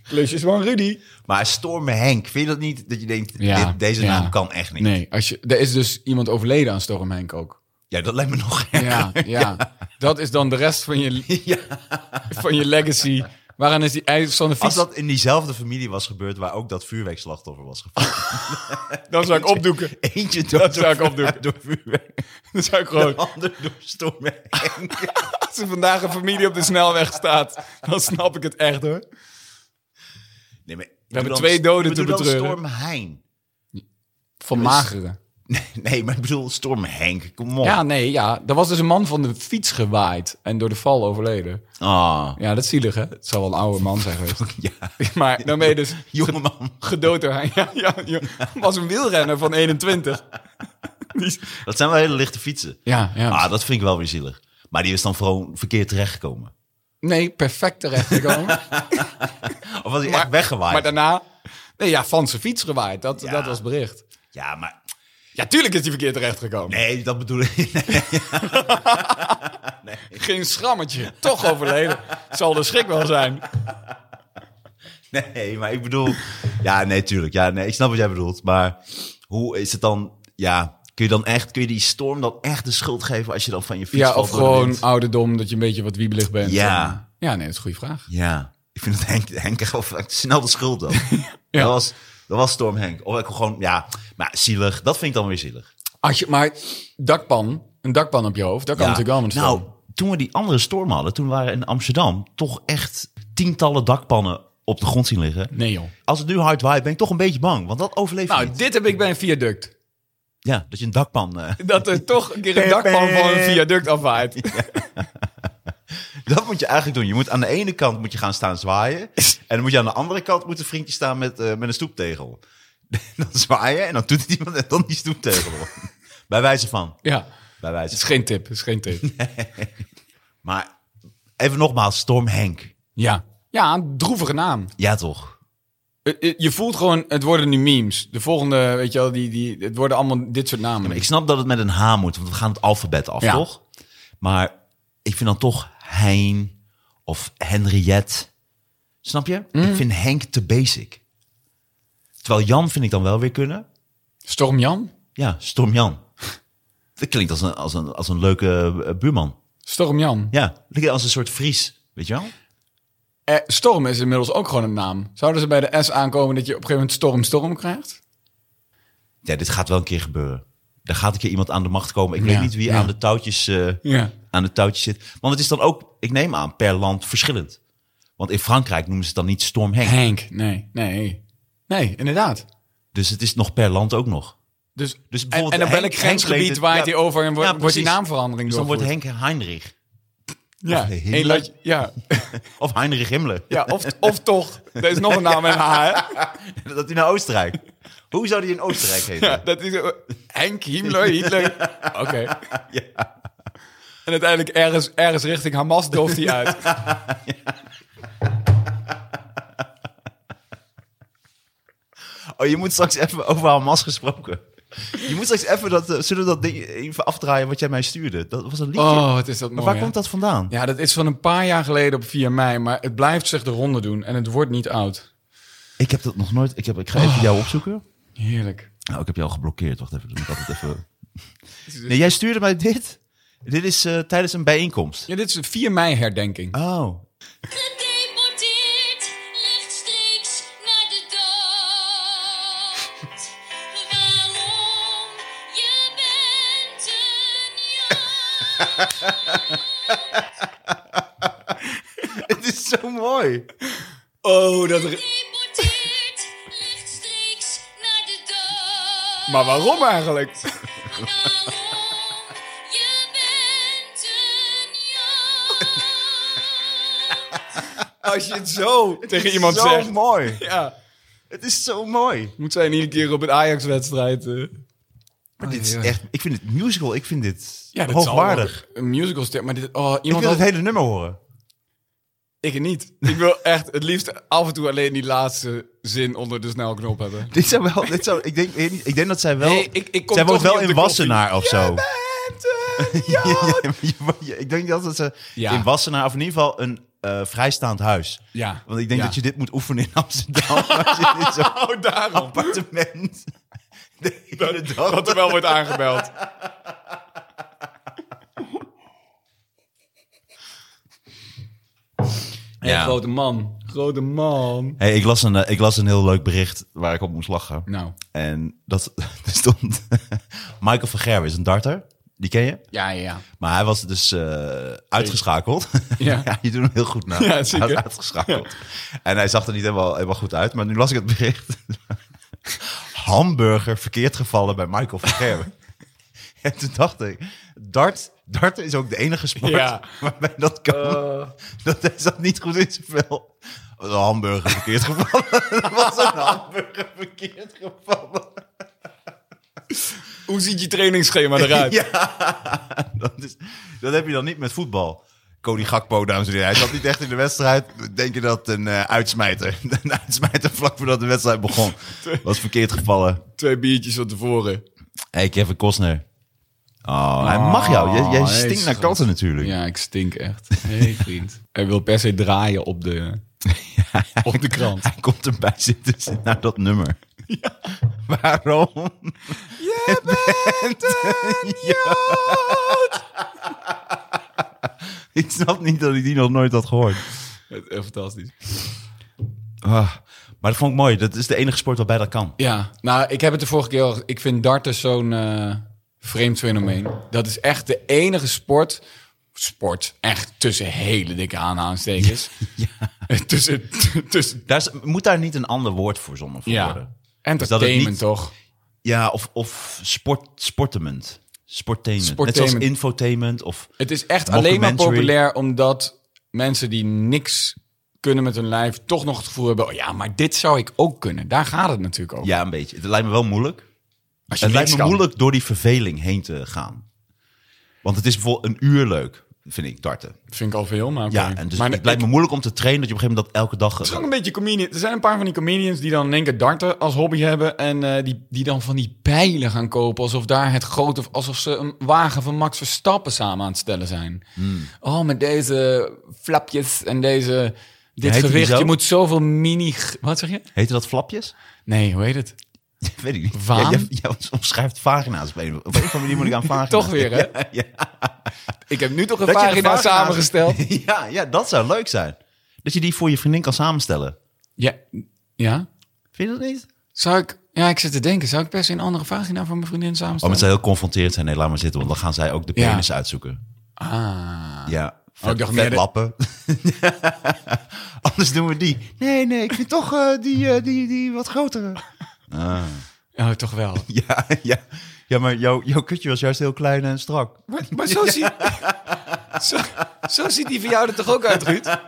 [SPEAKER 3] Klusjes van Rudy.
[SPEAKER 2] Maar Storm Henk, vind je dat niet? Dat je denkt,
[SPEAKER 3] Ja,
[SPEAKER 2] dit- deze
[SPEAKER 3] ja.
[SPEAKER 2] naam kan echt niet.
[SPEAKER 3] Nee, als je, er is dus iemand overleden aan Storm Henk ook.
[SPEAKER 2] Ja, dat lijkt me nog
[SPEAKER 3] Ja, ja. Dat is dan de rest van je, van je legacy. Waaraan is die ijs van de
[SPEAKER 2] Als
[SPEAKER 3] fiets?
[SPEAKER 2] dat in diezelfde familie was gebeurd waar ook dat vuurwerkslachtoffer was gevallen.
[SPEAKER 3] Dan zou ik opdoeken.
[SPEAKER 2] Eentje door,
[SPEAKER 3] Dat zou ik
[SPEAKER 2] door-
[SPEAKER 3] opdoen.
[SPEAKER 2] door vuurwerk,
[SPEAKER 3] Dan zou ik
[SPEAKER 2] de
[SPEAKER 3] gewoon...
[SPEAKER 2] ander door storm Henk.
[SPEAKER 3] Als er vandaag een familie op de snelweg staat, dan snap ik het echt hoor.
[SPEAKER 2] Nee, maar,
[SPEAKER 3] hebben twee doden te
[SPEAKER 2] betreuren.
[SPEAKER 3] betreuren.
[SPEAKER 2] Storm Hein.
[SPEAKER 3] Van magere.
[SPEAKER 2] Nee, maar ik bedoel Storm Henk, kom op.
[SPEAKER 3] Ja, nee, ja. Er was dus een man van de fiets gewaaid en door de val overleden.
[SPEAKER 2] Ah,
[SPEAKER 3] Ja, dat is zielig hè. Het zou wel een oude man zijn geweest.
[SPEAKER 2] ja.
[SPEAKER 3] Maar dan ben je dus
[SPEAKER 2] Jongeman,
[SPEAKER 3] gedood door hij. Ja, ja, ja. Was een wielrenner van 21. Die is-
[SPEAKER 2] dat zijn wel hele lichte fietsen.
[SPEAKER 3] Ja, ja.
[SPEAKER 2] Ah, dat vind ik wel weer zielig. Maar die is dan vooral verkeerd terechtgekomen.
[SPEAKER 3] Nee, perfect terechtgekomen.
[SPEAKER 2] Of was hij
[SPEAKER 3] Maar-
[SPEAKER 2] echt weggewaaid?
[SPEAKER 3] Maar daarna... Nee, ja, van zijn fiets gewaaid. Dat,
[SPEAKER 2] Ja.
[SPEAKER 3] dat was het bericht.
[SPEAKER 2] Ja, maar...
[SPEAKER 3] Ja, tuurlijk is hij verkeerd terechtgekomen.
[SPEAKER 2] Nee, dat bedoel ik...
[SPEAKER 3] Geen schrammetje. Toch overleden. Zal de schrik wel zijn.
[SPEAKER 2] Nee, maar ik bedoel... Ja, nee, tuurlijk. Ja, nee, ik snap wat jij bedoelt. Maar hoe is het dan... Ja, kun je dan echt... Kun je die storm dan echt de schuld geven als je dan van je fiets
[SPEAKER 3] Ja,
[SPEAKER 2] valt
[SPEAKER 3] of
[SPEAKER 2] door de
[SPEAKER 3] gewoon
[SPEAKER 2] wind?
[SPEAKER 3] ouderdom, dat je een beetje wat wiebelig bent.
[SPEAKER 2] Ja.
[SPEAKER 3] Ja, nee, dat is een goede vraag.
[SPEAKER 2] Ja, ik vind dat Henk, Henk echt wel vaak snel de schuld dan.
[SPEAKER 3] Ja.
[SPEAKER 2] dat, was, dat was Storm Henk. Of ik gewoon... Ja, maar zielig. Dat vind ik dan weer zielig.
[SPEAKER 3] Als je, maar dakpan, een dakpan op je hoofd, dat kan
[SPEAKER 2] Ja.
[SPEAKER 3] natuurlijk wel met
[SPEAKER 2] Nou,
[SPEAKER 3] storm.
[SPEAKER 2] toen we die andere storm hadden, toen waren in Amsterdam toch echt tientallen dakpannen op de grond zien liggen.
[SPEAKER 3] Nee joh.
[SPEAKER 2] Als het nu hard waait, ben ik toch een beetje bang, want dat overleeft
[SPEAKER 3] Nou,
[SPEAKER 2] niet.
[SPEAKER 3] dit heb ik bij een viaduct.
[SPEAKER 2] Ja, dat je een dakpan... eh,
[SPEAKER 3] Dat er toch een keer een dakpan van een viaduct afwaait.
[SPEAKER 2] dat moet je eigenlijk doen. Je moet aan de ene kant moet je gaan staan zwaaien. En dan moet je aan de andere kant moet een vriendje staan met, eh, met een stoeptegel. dan zwaaien en dan doet het iemand en dan die stoeptegel. op. Bij wijze van.
[SPEAKER 3] Ja,
[SPEAKER 2] Bij wijze
[SPEAKER 3] het is
[SPEAKER 2] van.
[SPEAKER 3] geen tip, het is geen tip.
[SPEAKER 2] Maar even nogmaals, Storm Henk.
[SPEAKER 3] Ja. Ja, een droevige naam.
[SPEAKER 2] Ja, toch?
[SPEAKER 3] Eh, eh, Je voelt gewoon, het worden nu memes. De volgende, weet je wel, die, die, het worden allemaal dit soort namen.
[SPEAKER 2] Maar ik snap dat het met een H moet, want we gaan het alfabet af,
[SPEAKER 3] Ja.
[SPEAKER 2] toch? Maar ik vind dan toch Hein Mhm. of Henriette. Snap je? Ik vind Henk te basic. Terwijl Jan vind ik dan wel weer kunnen.
[SPEAKER 3] Storm Jan?
[SPEAKER 2] Ja, Storm Jan. Dat klinkt als een, als een, als een leuke eh, buurman.
[SPEAKER 3] Storm Jan.
[SPEAKER 2] Ja, dat klinkt als een soort Fries, weet je wel?
[SPEAKER 3] Eh, Storm is inmiddels ook gewoon een naam. Zouden ze bij de S aankomen dat je op een gegeven moment Storm Storm krijgt?
[SPEAKER 2] Ja, dit gaat wel een keer gebeuren. Er gaat een keer iemand aan de macht komen. Ik
[SPEAKER 3] Ja,
[SPEAKER 2] weet niet wie
[SPEAKER 3] ja.
[SPEAKER 2] aan, de touwtjes, eh,
[SPEAKER 3] Ja.
[SPEAKER 2] aan de touwtjes zit. Want het is dan ook, ik neem aan, per land verschillend. Want in Frankrijk noemen ze het dan niet Storm Henk.
[SPEAKER 3] Henk. Nee, nee. Nee, inderdaad.
[SPEAKER 2] Dus het is nog per land ook nog.
[SPEAKER 3] Dus,
[SPEAKER 2] Dus
[SPEAKER 3] en,
[SPEAKER 2] bijvoorbeeld
[SPEAKER 3] en op
[SPEAKER 2] Henk- Henk
[SPEAKER 3] welk
[SPEAKER 2] leed
[SPEAKER 3] grensgebied
[SPEAKER 2] het-
[SPEAKER 3] waait
[SPEAKER 2] ja,
[SPEAKER 3] hij over en wordt,
[SPEAKER 2] ja,
[SPEAKER 3] wordt die
[SPEAKER 2] precies.
[SPEAKER 3] naamverandering
[SPEAKER 2] Dus dan wordt
[SPEAKER 3] doorgevoerd?
[SPEAKER 2] Henk Heinrich.
[SPEAKER 3] Ja,
[SPEAKER 2] Henk-
[SPEAKER 3] Henk laat- ja.
[SPEAKER 2] Of Heinrich Himmler.
[SPEAKER 3] ja of, of toch. Er is nog een naam met een H, hè?
[SPEAKER 2] Dat hij naar Oostenrijk. Hoe zou die in Oostenrijk heten?
[SPEAKER 3] Ja, dat is eh, Henk Himmler, Hitler. Oké. En uiteindelijk ergens, ergens richting Hamas dooft hij uit.
[SPEAKER 2] Oh, je moet straks even over Hamas gesproken. Je moet straks even dat... eh, zullen we dat ding even afdraaien wat jij mij stuurde? Dat was een liedje.
[SPEAKER 3] Oh, wat is dat
[SPEAKER 2] maar
[SPEAKER 3] mooi.
[SPEAKER 2] waar
[SPEAKER 3] hè?
[SPEAKER 2] komt dat vandaan?
[SPEAKER 3] Ja, dat is van een paar jaar geleden op 4 mei, maar het blijft zich de ronde doen en het wordt niet oud.
[SPEAKER 2] Ik heb dat nog nooit... Ik, heb, ik ga even jou opzoeken.
[SPEAKER 3] Heerlijk.
[SPEAKER 2] Nou, ik heb jou al geblokkeerd. Wacht even, dat moet ik altijd even... Nee, jij stuurde mij dit. Dit is eh, tijdens een bijeenkomst.
[SPEAKER 3] Ja, dit is de 4 mei herdenking.
[SPEAKER 2] Oh.
[SPEAKER 4] Gedeporteerd rechtstreeks naar de dood. Waarom? Je bent een Jood.
[SPEAKER 2] Het is zo mooi.
[SPEAKER 3] Oh, dat...
[SPEAKER 4] Gedeporteerd rechtstreeks naar de dood.
[SPEAKER 3] Maar waarom eigenlijk?
[SPEAKER 4] Waarom? Je bent een Jood.
[SPEAKER 3] Als je het zo tegen iemand
[SPEAKER 2] zo
[SPEAKER 3] zegt.
[SPEAKER 2] mooi.
[SPEAKER 3] Ja.
[SPEAKER 2] Het is zo mooi.
[SPEAKER 3] Moet zijn iedere keer op een Ajax-wedstrijd. eh.
[SPEAKER 2] Maar
[SPEAKER 3] Oh,
[SPEAKER 2] dit is
[SPEAKER 3] ja.
[SPEAKER 2] echt... Ik vind het musical. Ik vind dit
[SPEAKER 3] Ja, dat zal
[SPEAKER 2] hoogwaardig.
[SPEAKER 3] wel Een musical stem, maar dit, oh,
[SPEAKER 2] Ik
[SPEAKER 3] iemand
[SPEAKER 2] wil
[SPEAKER 3] had,
[SPEAKER 2] het hele nummer horen.
[SPEAKER 3] ik niet. Ik wil echt het liefst af en toe alleen die laatste zin onder de snelknop hebben.
[SPEAKER 2] Dit zou wel, dit zou, ik, denk, weet niet, ik denk dat zij wel.
[SPEAKER 3] Nee, ik- ik kom
[SPEAKER 2] zij
[SPEAKER 3] toch
[SPEAKER 2] woont wel
[SPEAKER 3] niet op
[SPEAKER 2] in
[SPEAKER 3] de koffie.
[SPEAKER 2] Wassenaar of zo.
[SPEAKER 3] Ja.
[SPEAKER 2] Ja, maar je- ik denk dat ze
[SPEAKER 3] Ja.
[SPEAKER 2] in Wassenaar, of in ieder geval een eh, vrijstaand huis.
[SPEAKER 3] Ja.
[SPEAKER 2] Want ik denk
[SPEAKER 3] Ja.
[SPEAKER 2] dat je dit moet oefenen in Amsterdam. als je in zo'n
[SPEAKER 3] Oh, daarom.
[SPEAKER 2] appartement. De hele dag.
[SPEAKER 3] Dat er wel wordt aangebeld.
[SPEAKER 2] Ja.
[SPEAKER 3] grote man. Grote man.
[SPEAKER 2] Hey, ik, las een, eh, ik las een heel leuk bericht waar ik op moest lachen.
[SPEAKER 3] Nou.
[SPEAKER 2] En dat er stond. Michael van Gerwen is een darter. Die ken je?
[SPEAKER 3] Ja, ja, ja.
[SPEAKER 2] Maar hij was dus eh, uitgeschakeld.
[SPEAKER 3] Ja.
[SPEAKER 2] Ja. je doet hem heel goed na.
[SPEAKER 3] Ja,
[SPEAKER 2] Hij was
[SPEAKER 3] zeker.
[SPEAKER 2] uitgeschakeld. En hij zag er niet helemaal, helemaal goed uit. Maar nu las ik het bericht. Hamburger verkeerd gevallen bij Michael van Gerwen. en toen dacht ik, dart, dart is ook de enige sport
[SPEAKER 3] Ja. Eh.
[SPEAKER 2] waarbij dat kan. Dat is dat niet goed in zijn vel. Een hamburger verkeerd gevallen. Dat was een hamburger verkeerd gevallen.
[SPEAKER 3] Hoe ziet je trainingsschema eruit?
[SPEAKER 2] Ja, dat, is, dat heb je dan niet met voetbal. Cody Gakpo, dames en heren. Hij zat niet echt in de wedstrijd. We denken dat een eh, uitsmijter. Een uitsmijter vlak voordat de wedstrijd begon. Was verkeerd gevallen.
[SPEAKER 3] Twee biertjes van tevoren.
[SPEAKER 2] Hey, Kevin Costner. Oh, hij mag jou. Jij, jij
[SPEAKER 3] nee,
[SPEAKER 2] stinkt naar
[SPEAKER 3] schat.
[SPEAKER 2] katten natuurlijk.
[SPEAKER 3] Ja, ik stink echt. Hé, hey, vriend. Hij wil per se draaien op de, op de krant.
[SPEAKER 2] Hij komt erbij zitten zit naar dat nummer. Waarom?
[SPEAKER 3] Je bent een jood.
[SPEAKER 2] Ik snap niet dat ik die nog nooit had gehoord.
[SPEAKER 3] Het is echt Fantastisch.
[SPEAKER 2] Ah, maar dat vond ik mooi. Dat is de enige sport waarbij dat kan.
[SPEAKER 3] Ja, nou, ik heb het de vorige keer al gez- Ik vind darten zo'n eh, vreemd fenomeen. Dat is echt de enige sport... Sport, echt tussen hele dikke aanhalingstekens. Ja. tussen, tussen...
[SPEAKER 2] Daar is- moet daar niet een ander woord voor zonnen voor
[SPEAKER 3] Ja.
[SPEAKER 2] worden?
[SPEAKER 3] Entertainment,
[SPEAKER 2] niet-
[SPEAKER 3] toch?
[SPEAKER 2] Ja, of, of sport, sportement. Sportainment. Net
[SPEAKER 3] Sportainment.
[SPEAKER 2] zoals infotainment of...
[SPEAKER 3] Het is echt alleen maar
[SPEAKER 2] Mockumentary.
[SPEAKER 3] populair omdat mensen die niks kunnen met hun lijf toch nog het gevoel hebben: oh ja, maar dit zou ik ook kunnen. Daar gaat het natuurlijk over.
[SPEAKER 2] Ja, een beetje. Het lijkt me wel moeilijk.
[SPEAKER 3] Als je
[SPEAKER 2] Het lijkt
[SPEAKER 3] niks
[SPEAKER 2] me
[SPEAKER 3] kan.
[SPEAKER 2] moeilijk door die verveling heen te gaan. Want het is bijvoorbeeld een uur leuk, vind ik, darten.
[SPEAKER 3] Vind ik al veel, maar.
[SPEAKER 2] Ja,
[SPEAKER 3] oké.
[SPEAKER 2] en dus
[SPEAKER 3] maar
[SPEAKER 2] het lijkt me moeilijk om te trainen dat je op een gegeven moment dat elke
[SPEAKER 3] Het is
[SPEAKER 2] dag...
[SPEAKER 3] ook een beetje comedian. Er zijn een paar van die comedians die dan in één keer darten als hobby hebben. En eh, die, die dan van die pijlen gaan kopen. Alsof daar het grote. Alsof ze een wagen van Max
[SPEAKER 2] Hmm.
[SPEAKER 3] Verstappen samen aan het stellen zijn. Oh, met deze flapjes en deze Dit
[SPEAKER 2] Heette die
[SPEAKER 3] gewicht,
[SPEAKER 2] zo?
[SPEAKER 3] je moet zoveel mini... Wat zeg je?
[SPEAKER 2] Heette dat flapjes?
[SPEAKER 3] Nee, hoe heet het?
[SPEAKER 2] Weet ik niet. Jij,
[SPEAKER 3] Vaan?
[SPEAKER 2] jij, jij omschrijft vagina's. Op een op een of andere manier moet ik aan vagina's.
[SPEAKER 3] Toch weer, hè?
[SPEAKER 2] Ja, ja.
[SPEAKER 3] Ik heb nu toch een
[SPEAKER 2] Dat je de
[SPEAKER 3] pagina
[SPEAKER 2] vagina's-
[SPEAKER 3] samengesteld.
[SPEAKER 2] ja, ja, dat zou leuk zijn. Dat je die voor je vriendin kan samenstellen.
[SPEAKER 3] Ja, ja.
[SPEAKER 2] Vind je dat niet?
[SPEAKER 3] Zou ik... Ja, ik zit te denken. Zou ik best een andere vagina voor mijn vriendin
[SPEAKER 2] Oh, maar het
[SPEAKER 3] samenstellen?
[SPEAKER 2] zou heel confronterend zijn. Nee, laat maar zitten, want dan gaan zij ook de
[SPEAKER 3] Ja.
[SPEAKER 2] penis uitzoeken.
[SPEAKER 3] Ah.
[SPEAKER 2] Ja. Vet,
[SPEAKER 3] Oh, ik dacht
[SPEAKER 2] vet
[SPEAKER 3] meer de-
[SPEAKER 2] lappen. Anders doen we die. Nee, nee, ik vind toch eh, die, eh, die, die wat grotere.
[SPEAKER 3] Oh, toch wel.
[SPEAKER 2] Ja, ja. ja maar jouw, jouw kutje was juist heel klein en strak.
[SPEAKER 3] Maar, maar zo, ziet, zo, zo ziet die van jou er toch ook uit, Ruud?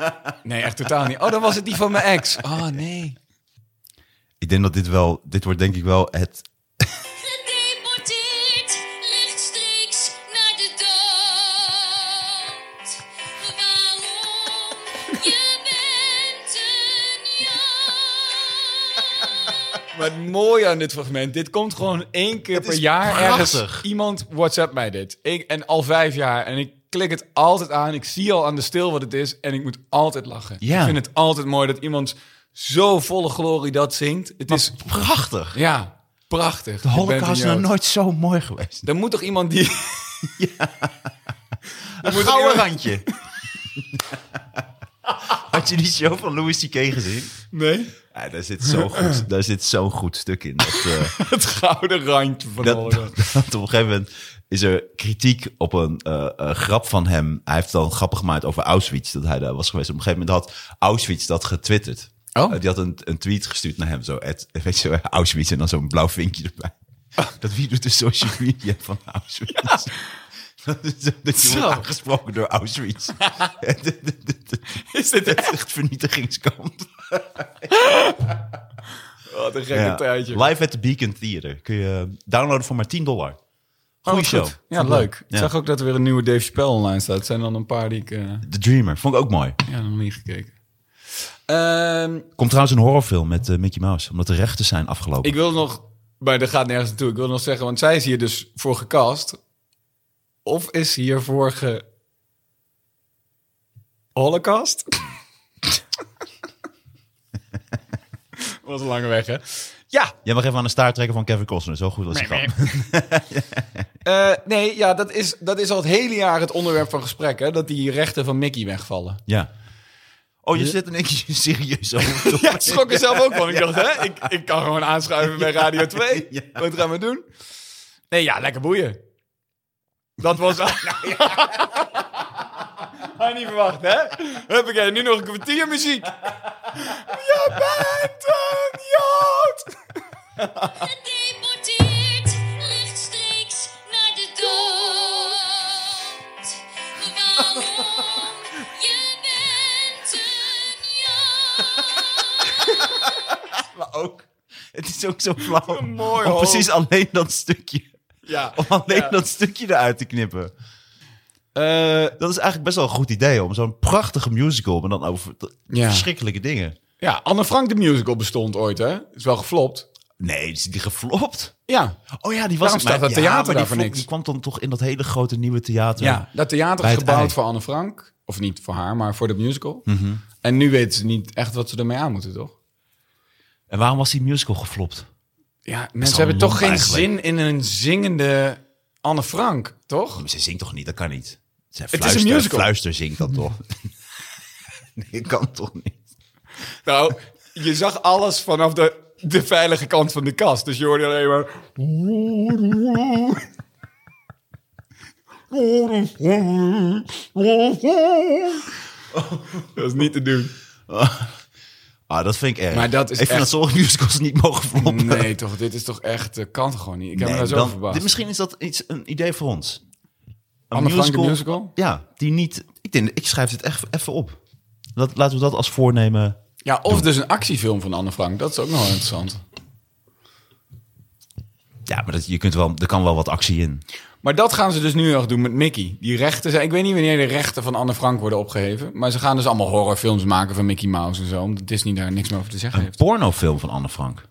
[SPEAKER 3] Nee, echt totaal niet. Oh, dan was het die van mijn ex. Oh, nee.
[SPEAKER 2] Ik denk dat dit wel... Dit wordt denk ik wel het...
[SPEAKER 4] gedeporteerd rechtstreeks naar de dood. Waarom? Je bent een jan.
[SPEAKER 3] Maar het mooie aan dit fragment, dit komt gewoon één keer per
[SPEAKER 2] is
[SPEAKER 3] jaar ergens.
[SPEAKER 2] prachtig.
[SPEAKER 3] Iemand WhatsApp mij dit. Ik, en al vijf jaar. En ik klik het altijd aan. Ik zie al aan de stil wat het is. En ik moet altijd lachen.
[SPEAKER 2] Ja.
[SPEAKER 3] Ik vind het altijd mooi dat iemand zo volle glorie dat zingt. Het is,
[SPEAKER 2] Prachtig.
[SPEAKER 3] ja, prachtig.
[SPEAKER 2] De Holocaust is
[SPEAKER 3] nou
[SPEAKER 2] nog nooit zo mooi geweest.
[SPEAKER 3] Er moet toch iemand die...
[SPEAKER 2] Een
[SPEAKER 3] moet
[SPEAKER 2] gouden
[SPEAKER 3] er-
[SPEAKER 2] randje. Had je die show van Louis C.K. gezien?
[SPEAKER 3] Nee?
[SPEAKER 2] Ja, daar zit zo'n goed, daar zit zo'n goed stuk in. Dat, eh,
[SPEAKER 3] Het gouden randje van de
[SPEAKER 2] dat,
[SPEAKER 3] Holocaust.
[SPEAKER 2] dat, dat op een gegeven moment is er kritiek op een eh, eh, grap van hem. Hij heeft dan grappen gemaakt over Auschwitz, dat hij daar was geweest. Op een gegeven moment had Auschwitz dat getwitterd.
[SPEAKER 3] Oh.
[SPEAKER 2] Eh, die had een, een tweet gestuurd naar hem, zo, at- weet je, wel, Auschwitz en dan zo'n blauw vinkje erbij.
[SPEAKER 3] Oh.
[SPEAKER 2] Dat wie doet de social media van Auschwitz? Dat, is, dat je
[SPEAKER 3] Zo.
[SPEAKER 2] wordt aangesproken door Auschwitz.
[SPEAKER 3] Is dit
[SPEAKER 2] Het is echt vernietigingskamp.
[SPEAKER 3] Wat een gekke
[SPEAKER 2] Ja.
[SPEAKER 3] tijdje.
[SPEAKER 2] Live at the Beacon Theater. Kun je eh, downloaden voor maar 10 dollar.
[SPEAKER 3] Oh,
[SPEAKER 2] Goeie
[SPEAKER 3] wat
[SPEAKER 2] show.
[SPEAKER 3] goed. Ja, leuk. Ik
[SPEAKER 2] Ja.
[SPEAKER 3] zag ook dat er weer een nieuwe Dave Chappelle online staat. Het zijn dan een paar die ik... eh,
[SPEAKER 2] The Dreamer. Vond ik ook mooi.
[SPEAKER 3] Ja, nog niet gekeken. Ehm,
[SPEAKER 2] Komt trouwens een horrorfilm met eh, Mickey Mouse. Omdat de rechten zijn afgelopen.
[SPEAKER 3] ik wil nog... Maar dat gaat nergens naartoe. Ik wil nog zeggen, want zij is hier dus voor gecast. Of is ze hiervoor ge... Holocaust? Was een lange weg, hè? Ja,
[SPEAKER 2] Jij mag even aan de staart trekken van Kevin Costner. Zo goed als hij kan.
[SPEAKER 3] eh, nee, ja, dat is, dat is al het hele jaar het onderwerp van gesprek, hè? Dat die rechten van Mickey wegvallen.
[SPEAKER 2] Ja. Oh, je zit in één keer serieus over.
[SPEAKER 3] Ja, ik schrok er zelf ook van. Ik dacht, hè, ik, ik kan gewoon aanschuiven bij Radio 2.
[SPEAKER 2] Ja.
[SPEAKER 3] Wat gaan we doen? Nee, ja, lekker boeien. Dat was... Had je niet verwacht, hè? Huppakee, nu nog een kwartier muziek. Je bent een jood!
[SPEAKER 4] Gedeporteerd rechtstreeks naar de dood. Waarom? Je bent een jan.
[SPEAKER 2] Maar ook. Het is ook zo flauw.
[SPEAKER 3] mooi,
[SPEAKER 2] Om
[SPEAKER 3] hoor.
[SPEAKER 2] precies alleen dat stukje.
[SPEAKER 3] Ja.
[SPEAKER 2] Om alleen
[SPEAKER 3] Ja. Eh,
[SPEAKER 2] dat stukje eruit te knippen. dat is eigenlijk best wel een goed idee. Om zo'n prachtige musical. Maar dan over t-
[SPEAKER 3] Ja.
[SPEAKER 2] verschrikkelijke dingen.
[SPEAKER 3] Ja, Anne Frank de musical bestond ooit, hè? Is wel geflopt.
[SPEAKER 2] Nee, is die geflopt?
[SPEAKER 3] Ja.
[SPEAKER 2] Oh ja, die was...
[SPEAKER 3] Daarom staat
[SPEAKER 2] maar-
[SPEAKER 3] dat theater
[SPEAKER 2] ja, maar
[SPEAKER 3] daar
[SPEAKER 2] die
[SPEAKER 3] voor
[SPEAKER 2] vlo-
[SPEAKER 3] niks.
[SPEAKER 2] Die kwam dan toch in dat hele grote nieuwe theater.
[SPEAKER 3] Ja, dat theater
[SPEAKER 2] Bij
[SPEAKER 3] is
[SPEAKER 2] het
[SPEAKER 3] gebouwd
[SPEAKER 2] ei.
[SPEAKER 3] voor Anne Frank. Of niet voor haar, maar voor de musical.
[SPEAKER 2] Mhm.
[SPEAKER 3] En nu weten ze niet echt wat ze ermee aan moeten, toch?
[SPEAKER 2] En waarom was die musical geflopt?
[SPEAKER 3] Ja, mensen
[SPEAKER 2] al
[SPEAKER 3] hebben
[SPEAKER 2] lomp
[SPEAKER 3] toch geen
[SPEAKER 2] eigenlijk.
[SPEAKER 3] zin in een zingende Anne Frank, toch?
[SPEAKER 2] Maar ze zingt toch niet? Dat kan niet. Ze
[SPEAKER 3] is
[SPEAKER 2] fluister,
[SPEAKER 3] een musical.
[SPEAKER 2] Fluister zingt dat toch? nee, kan toch niet?
[SPEAKER 3] Nou, je zag alles vanaf de, de veilige kant van de kast. Dus je hoorde alleen maar... Dat is niet te doen.
[SPEAKER 2] Ah, dat vind ik erg.
[SPEAKER 3] Maar dat
[SPEAKER 2] ik
[SPEAKER 3] is
[SPEAKER 2] vind
[SPEAKER 3] echt-
[SPEAKER 2] dat sommige musicals niet mogen floppen.
[SPEAKER 3] Nee, toch, dit is toch echt... eh, Kan toch gewoon niet? Ik heb
[SPEAKER 2] Nee,
[SPEAKER 3] me daar zo
[SPEAKER 2] dan-
[SPEAKER 3] verbaasd.
[SPEAKER 2] dit- misschien is dat iets, een idee voor ons. Een
[SPEAKER 3] Anne Frank de musical?
[SPEAKER 2] Ja, die niet... Ik, denk, ik schrijf dit echt even op. Dat, laten we dat als voornemen...
[SPEAKER 3] Ja, of dus een actiefilm van Anne Frank. Dat is ook nog wel interessant.
[SPEAKER 2] Ja, maar dat, je kunt wel, er kan wel wat actie in.
[SPEAKER 3] Maar dat gaan ze dus nu nog doen met Mickey. Die rechten zijn... Ik weet niet wanneer de rechten van Anne Frank worden opgeheven. Maar ze gaan dus allemaal horrorfilms maken van Mickey Mouse en zo. Omdat Disney daar niks meer over te zeggen
[SPEAKER 2] Een
[SPEAKER 3] heeft.
[SPEAKER 2] pornofilm van Anne Frank.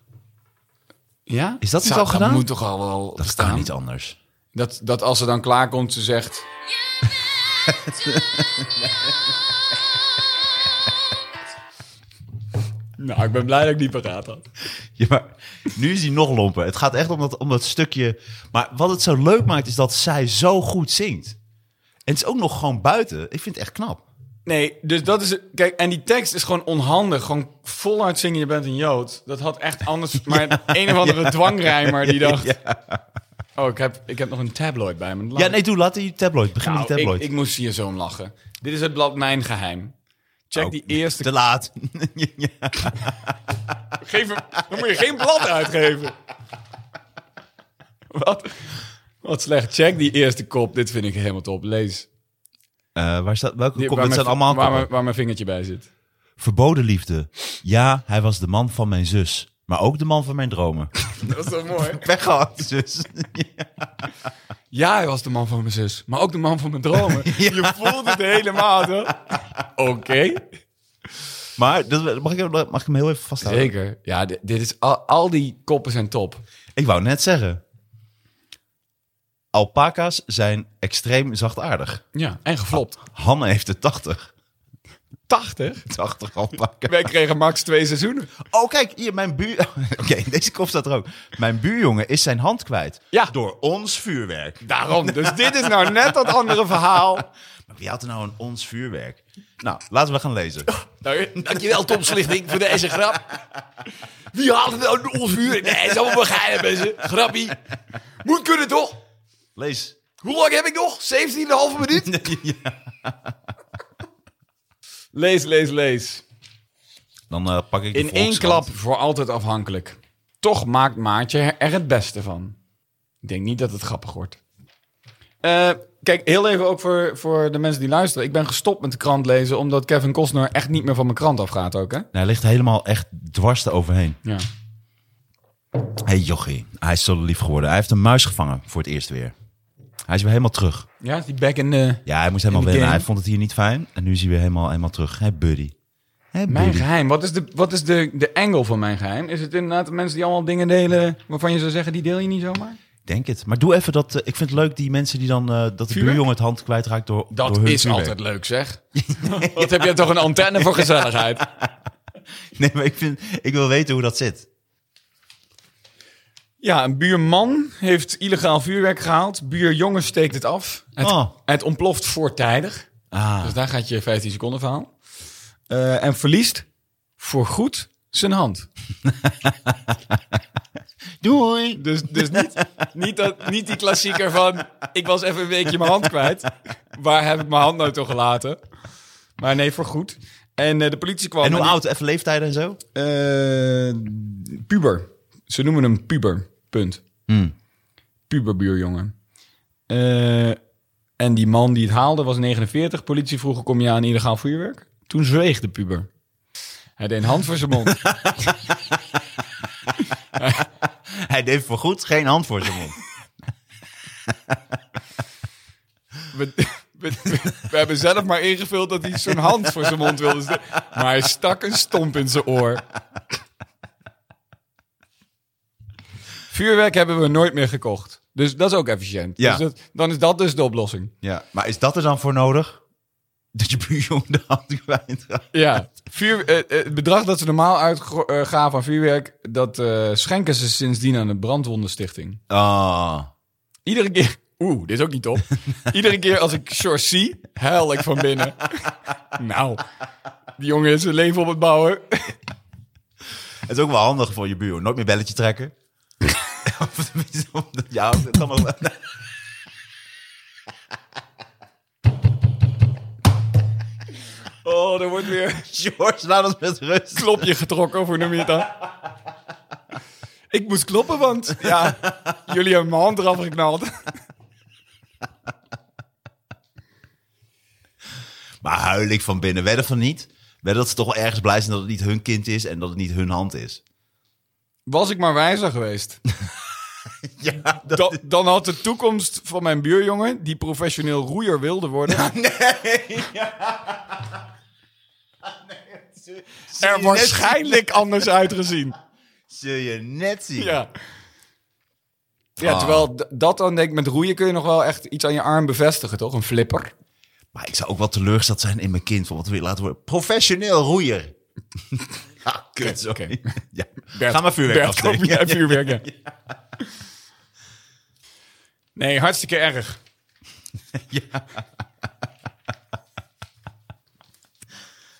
[SPEAKER 3] Ja?
[SPEAKER 2] Is dat niet al
[SPEAKER 3] Dat
[SPEAKER 2] gedaan?
[SPEAKER 3] moet toch al wel
[SPEAKER 2] Dat
[SPEAKER 3] bestaan?
[SPEAKER 2] kan niet anders.
[SPEAKER 3] Dat, dat als ze dan klaarkomt, ze zegt... Nou, ik ben blij dat ik niet paraat had.
[SPEAKER 2] Ja, maar nu is hij nog lomper. Het gaat echt om dat, om dat stukje. Maar wat het zo leuk maakt, is dat zij zo goed zingt. En het is ook nog gewoon buiten. Ik vind het echt knap.
[SPEAKER 3] Nee, dus dat is... Kijk, en die tekst is gewoon onhandig. Gewoon voluit zingen, je bent een Jood. Dat had echt anders... Maar een of andere dwangrijmer die dacht... Oh, ik heb, ik heb nog een tabloid bij me. Laat
[SPEAKER 2] Ja,
[SPEAKER 3] ik-
[SPEAKER 2] nee, doe, laat die tabloid. Begin
[SPEAKER 3] Nou,
[SPEAKER 2] met die tabloid.
[SPEAKER 3] Ik, ik moest hier zo om lachen. Dit is het blad Mijn Geheim. Check
[SPEAKER 2] Oh,
[SPEAKER 3] die eerste...
[SPEAKER 2] Te laat. ja.
[SPEAKER 3] Geef hem, dan moet je geen blad uitgeven. Wat, wat slecht. Check die eerste kop. Dit vind ik helemaal top. Lees.
[SPEAKER 2] Eh, waar staat, welke
[SPEAKER 3] Die-
[SPEAKER 2] kom,
[SPEAKER 3] waar
[SPEAKER 2] dit zijn
[SPEAKER 3] mijn-
[SPEAKER 2] allemaal
[SPEAKER 3] waar,
[SPEAKER 2] koppen.
[SPEAKER 3] mijn- waar mijn vingertje bij zit.
[SPEAKER 2] Verboden liefde. Ja, hij was de man van mijn zus. Maar ook de man van mijn dromen.
[SPEAKER 3] Dat is toch mooi?
[SPEAKER 2] Weggehakt, zus.
[SPEAKER 3] Ja, hij was de man van mijn zus. Maar ook de man van mijn dromen. Je voelt het helemaal, toch? Oké.
[SPEAKER 2] maar dat, mag, ik, hem- mag ik hem heel even vasthouden?
[SPEAKER 3] Zeker. Ja, dit, dit is al, al die koppen zijn top.
[SPEAKER 2] Ik wou net zeggen. Alpaca's zijn extreem zachtaardig.
[SPEAKER 3] Ja, en geflopt.
[SPEAKER 2] Hanne heeft er 80.
[SPEAKER 3] 80?
[SPEAKER 2] 80 alpaca.
[SPEAKER 3] Wij kregen max twee seizoenen.
[SPEAKER 2] Oh, kijk, hier, mijn buur... Oké, deze kop staat er ook. Mijn buurjongen is zijn hand kwijt.
[SPEAKER 3] Ja.
[SPEAKER 2] Door ons vuurwerk.
[SPEAKER 3] Daarom. Dus dit is nou net dat andere verhaal.
[SPEAKER 2] Maar wie had er nou een ons vuurwerk? Nou, laten we gaan lezen.
[SPEAKER 3] Nou, dankjewel Tom Slichting voor deze grap. Wie haalt het nou ons vuur? Nee, het is allemaal geheim, mensen. Grappie. Moet kunnen, toch?
[SPEAKER 2] Lees.
[SPEAKER 3] Hoe lang heb ik nog? 17,5 minuut? Lees, lees, lees.
[SPEAKER 2] Dan eh, pak ik de
[SPEAKER 3] In één
[SPEAKER 2] Volkskrant.
[SPEAKER 3] klap voor altijd afhankelijk. Toch maakt Maartje er het beste van. Ik denk niet dat het grappig wordt. Eh, kijk, heel even ook voor, voor de mensen die luisteren. Ik ben gestopt met de krant lezen, omdat Kevin Costner echt niet meer van mijn krant afgaat ook, hè?
[SPEAKER 2] Nou, hij ligt helemaal echt dwars eroverheen.
[SPEAKER 3] Ja.
[SPEAKER 2] Hé hey, jochie, hij is zo lief geworden. Hij heeft een muis gevangen voor het eerst weer. Hij is weer helemaal terug.
[SPEAKER 3] Ja, is die back in de...
[SPEAKER 2] Ja, hij moest helemaal
[SPEAKER 3] In
[SPEAKER 2] wennen.
[SPEAKER 3] de game.
[SPEAKER 2] Hij vond het hier niet fijn. En nu is hij weer helemaal, helemaal terug. Hé buddy. Hé
[SPEAKER 3] Mijn
[SPEAKER 2] buddy.
[SPEAKER 3] geheim. Wat is, de, wat is de, de angle van mijn geheim? Is het inderdaad de mensen die allemaal dingen delen waarvan je zou zeggen, die deel je niet zomaar?
[SPEAKER 2] Ik Denk het. Maar doe even dat... eh, ik vind het leuk die mensen die dan... eh, dat de
[SPEAKER 3] Vuurwerk?
[SPEAKER 2] buurjongen het hand kwijtraakt door
[SPEAKER 3] Dat
[SPEAKER 2] door hun
[SPEAKER 3] is
[SPEAKER 2] vuurwerk.
[SPEAKER 3] altijd leuk, zeg. Wat heb jij toch een antenne voor gezelligheid?
[SPEAKER 2] Nee, maar ik, vind, ik wil weten hoe dat zit.
[SPEAKER 3] Ja, een buurman heeft illegaal vuurwerk gehaald. Buurjongen steekt het af. Het,
[SPEAKER 2] Oh.
[SPEAKER 3] het ontploft voortijdig.
[SPEAKER 2] Ah,
[SPEAKER 3] Dus daar gaat je 15 seconden verhaal. Eh, en verliest voorgoed zijn hand.
[SPEAKER 2] doei.
[SPEAKER 3] Dus, dus niet, niet, dat, niet die klassieker van... ik was even een weekje mijn hand kwijt. Waar heb ik mijn hand nou toch gelaten? Maar nee, voor goed. En eh, de politie kwam...
[SPEAKER 2] En hoe
[SPEAKER 3] die-
[SPEAKER 2] oud? Even leeftijden en zo?
[SPEAKER 3] Eh, puber. Ze noemen hem puber. Punt.
[SPEAKER 2] Hmm.
[SPEAKER 3] Puberbuurjongen. Eh, en die man die het haalde was 49. Politie vroeg, kom je aan illegaal vuurwerk? Toen zweeg de puber. Hij deed een hand voor zijn mond.
[SPEAKER 2] Hij deed voorgoed geen hand voor zijn mond.
[SPEAKER 3] We, we- we- we hebben zelf maar ingevuld dat hij zo'n hand voor zijn mond wilde. ste- Maar hij stak een stomp in zijn oor. Vuurwerk hebben we nooit meer gekocht. Dus dat is ook efficiënt.
[SPEAKER 2] Ja.
[SPEAKER 3] Dus dat, dan is dat dus de oplossing.
[SPEAKER 2] ja, maar is dat er dan voor nodig? Dat je buurjongen de hand kwijtraakt?
[SPEAKER 3] Ja. Vuur, eh, eh, het bedrag dat ze normaal uitgaven aan vuurwerk... dat eh, schenken ze sindsdien aan de Brandwondenstichting.
[SPEAKER 2] Ah.
[SPEAKER 3] Iedere keer... Oeh, dit is ook niet top. Iedere keer als ik George zie, huil ik van binnen. nou, die jongen is zijn leven op het bouwen.
[SPEAKER 2] Het is ook wel handig voor je buur. Nooit meer belletje trekken. of tenminste, omdat jou het allemaal...
[SPEAKER 3] Oh, er wordt weer
[SPEAKER 2] George, laat ons met rust.
[SPEAKER 3] klopje getrokken, of hoe noem je het dan? Ik moest kloppen, want ja, jullie hebben mijn hand eraf geknald.
[SPEAKER 2] Maar huil ik van binnen. Wedden van niet. Wedden dat ze toch wel ergens blij zijn dat het niet hun kind is en dat het niet hun hand is.
[SPEAKER 3] Was ik maar wijzer geweest.
[SPEAKER 2] Ja, dat...
[SPEAKER 3] Dan, dan had de toekomst van mijn buurjongen, die professioneel roeier wilde worden, er waarschijnlijk anders uitgezien.
[SPEAKER 2] Zul je net zien.
[SPEAKER 3] Ja. Ah. Ja, terwijl d- dat dan denk ik, met roeien kun je nog wel echt iets aan je arm bevestigen, toch? Een flipper.
[SPEAKER 2] Maar ik zou ook wel teleurgesteld zijn in mijn kind. Van wat wil je laten worden? Professioneel roeier. Ja, Ah, kut, sorry.
[SPEAKER 3] oké.
[SPEAKER 2] Ja.
[SPEAKER 3] Bert,
[SPEAKER 2] Ga maar vuurwerk
[SPEAKER 3] Bert,
[SPEAKER 2] afsteken.
[SPEAKER 3] kom, ja, vuurwerk, ja. Nee, hartstikke erg.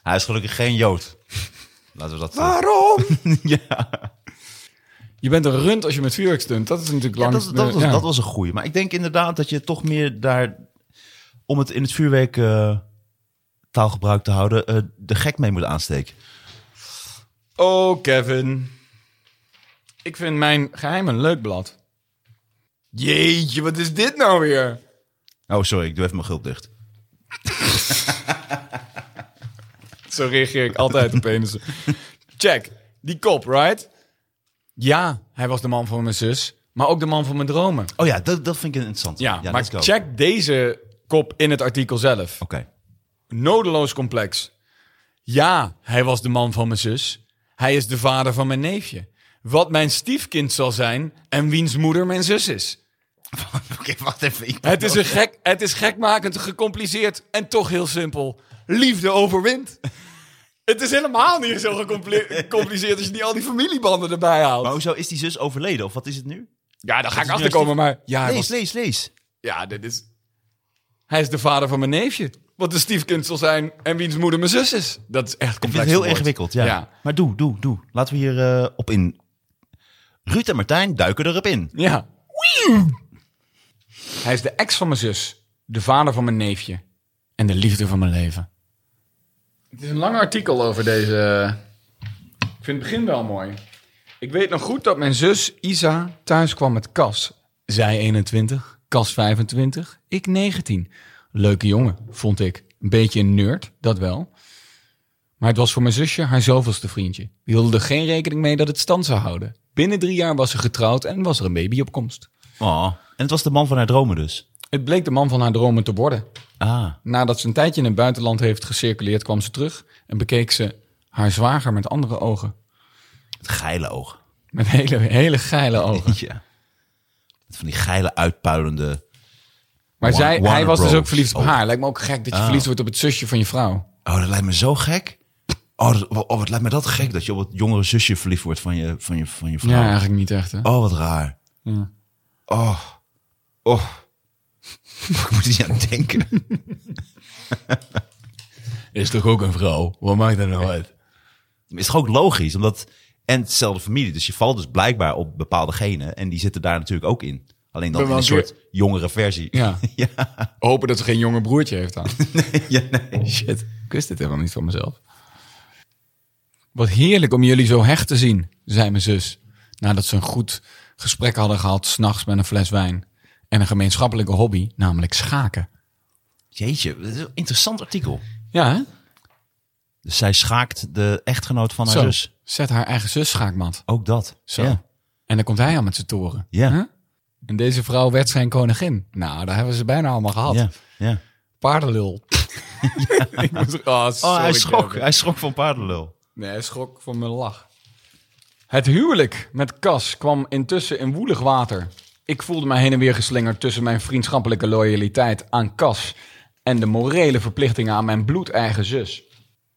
[SPEAKER 2] Hij is gelukkig geen Jood. Laten we dat... eh,
[SPEAKER 3] Ah, Waarom?
[SPEAKER 2] Ja,
[SPEAKER 3] Je bent een rund als je met vuurwerk stunt. Dat is natuurlijk
[SPEAKER 2] Ja,
[SPEAKER 3] lang.
[SPEAKER 2] dat, dat, was,
[SPEAKER 3] ja.
[SPEAKER 2] dat was een goeie. Maar ik denk inderdaad dat je toch meer daar... Om het in het vuurwerk eh, taalgebruik te houden... eh, de gek mee moet aansteken.
[SPEAKER 3] Oh, Kevin. Ik vind mijn geheim een leuk blad. Jeetje, wat is dit nou weer?
[SPEAKER 2] Oh, sorry. Ik doe even mijn gulp dicht.
[SPEAKER 3] Zo reageer ik altijd op penissen. Check, die kop, right? Ja, hij was de man van mijn zus, maar ook de man van mijn dromen.
[SPEAKER 2] Oh ja, dat, dat vind ik interessant.
[SPEAKER 3] Ja, maar
[SPEAKER 2] let's go.
[SPEAKER 3] check deze kop in het artikel zelf.
[SPEAKER 2] Oké.
[SPEAKER 3] Nodeloos complex. Ja, hij was de man van mijn zus. Hij is de vader van mijn neefje. Wat mijn stiefkind zal zijn en wiens moeder mijn zus is.
[SPEAKER 2] Oké, wacht even. Ik-
[SPEAKER 3] Het is, een gek, het is gekmakend, gecompliceerd en toch heel simpel. Liefde overwint. Het is helemaal niet zo gecompli- gecompliceerd als je niet al die familiebanden erbij
[SPEAKER 2] Maar
[SPEAKER 3] haalt.
[SPEAKER 2] hoezo is die zus overleden? Of wat is het nu?
[SPEAKER 3] Ja, daar ga ik
[SPEAKER 2] is
[SPEAKER 3] achterkomen, maar... Ja, hij
[SPEAKER 2] Lees,
[SPEAKER 3] was-
[SPEAKER 2] lees, lees.
[SPEAKER 3] ja, dit is... Hij is de vader van mijn neefje. Wat de stiefkind zal zijn en wiens moeder mijn zus is. Dat is echt
[SPEAKER 2] Ik
[SPEAKER 3] complex.
[SPEAKER 2] vind het heel
[SPEAKER 3] verwoord.
[SPEAKER 2] ingewikkeld, ja.
[SPEAKER 3] Ja.
[SPEAKER 2] Maar doe, doe, doe. Laten we hier eh, op in. Ruud en Martijn duiken erop in.
[SPEAKER 3] Ja. Hij is de ex van mijn zus, de vader van mijn neefje en de liefde van mijn leven. Het is een lang artikel over deze. eh, Ik vind het begin wel mooi. Ik weet nog goed dat mijn zus Isa thuis kwam met Cas. Zij 21, Cas 25, ik 19. Leuke jongen, vond ik. Een beetje een nerd, dat wel. Maar het was voor mijn zusje haar zoveelste vriendje. Die hielden er geen rekening mee dat het stand zou houden. Binnen drie jaar was ze getrouwd en was er een baby op komst.
[SPEAKER 2] Oh. En het was de man van haar dromen dus.
[SPEAKER 3] Het bleek de man van haar dromen te worden.
[SPEAKER 2] Ah.
[SPEAKER 3] Nadat ze een tijdje in het buitenland heeft gecirculeerd, kwam ze terug en bekeek ze haar zwager met andere ogen.
[SPEAKER 2] Het geile oog.
[SPEAKER 3] Met hele, hele geile ogen.
[SPEAKER 2] Ja. Met van die geile uitpuilende...
[SPEAKER 3] Maar zij,
[SPEAKER 2] Warner
[SPEAKER 3] hij was dus
[SPEAKER 2] Bros.
[SPEAKER 3] ook verliefd op
[SPEAKER 2] Oh.
[SPEAKER 3] haar. Lijkt me ook gek dat je verliefd wordt op het zusje van je vrouw.
[SPEAKER 2] Oh, dat lijkt me zo gek. Oh, dat- oh, wat lijkt me dat gek dat je op het jongere zusje verliefd wordt van je, van je, van je vrouw.
[SPEAKER 3] Ja, eigenlijk niet echt. Hè?
[SPEAKER 2] Oh, wat raar.
[SPEAKER 3] Ja.
[SPEAKER 2] Oh. Oh. Ik moet er niet aan denken.
[SPEAKER 3] Is toch ook een vrouw? Wat maakt dat nou uit?
[SPEAKER 2] is toch ook logisch, omdat... En hetzelfde familie, dus je valt dus blijkbaar op bepaalde genen. En die zitten daar natuurlijk ook in. Alleen dan
[SPEAKER 3] Ben
[SPEAKER 2] in
[SPEAKER 3] wel
[SPEAKER 2] een
[SPEAKER 3] een
[SPEAKER 2] soort jongere versie.
[SPEAKER 3] Ja. Hopen dat ze geen jonger broertje heeft aan.
[SPEAKER 2] Ja, nee.
[SPEAKER 3] Shit, ik wist dit helemaal niet van mezelf. Wat heerlijk om jullie zo hecht te zien, zei mijn zus. Nadat ze een goed gesprek hadden gehad s'nachts met een fles wijn. En een gemeenschappelijke hobby, namelijk schaken.
[SPEAKER 2] Jeetje, dat is een interessant artikel.
[SPEAKER 3] Ja, hè?
[SPEAKER 2] Dus zij schaakt de echtgenoot van haar
[SPEAKER 3] Zo,
[SPEAKER 2] zus.
[SPEAKER 3] zet haar eigen zus schaakmat.
[SPEAKER 2] Ook dat.
[SPEAKER 3] Zo.
[SPEAKER 2] Ja.
[SPEAKER 3] En dan komt hij aan met zijn toren.
[SPEAKER 2] Ja.
[SPEAKER 3] Hè? En deze vrouw werd zijn koningin. Nou, daar hebben ze bijna allemaal gehad.
[SPEAKER 2] Ja, ja.
[SPEAKER 3] Paardenlul. Ik moest- oh,
[SPEAKER 2] Oh,
[SPEAKER 3] sorry,
[SPEAKER 2] hij schrok.
[SPEAKER 3] Kevin.
[SPEAKER 2] Hij schrok van paardenlul.
[SPEAKER 3] Nee, hij schrok van mijn lach. Het huwelijk met Cas kwam intussen in woelig water. Ik voelde mij heen en weer geslingerd tussen mijn vriendschappelijke loyaliteit aan Cas en de morele verplichtingen aan mijn bloedeigen zus.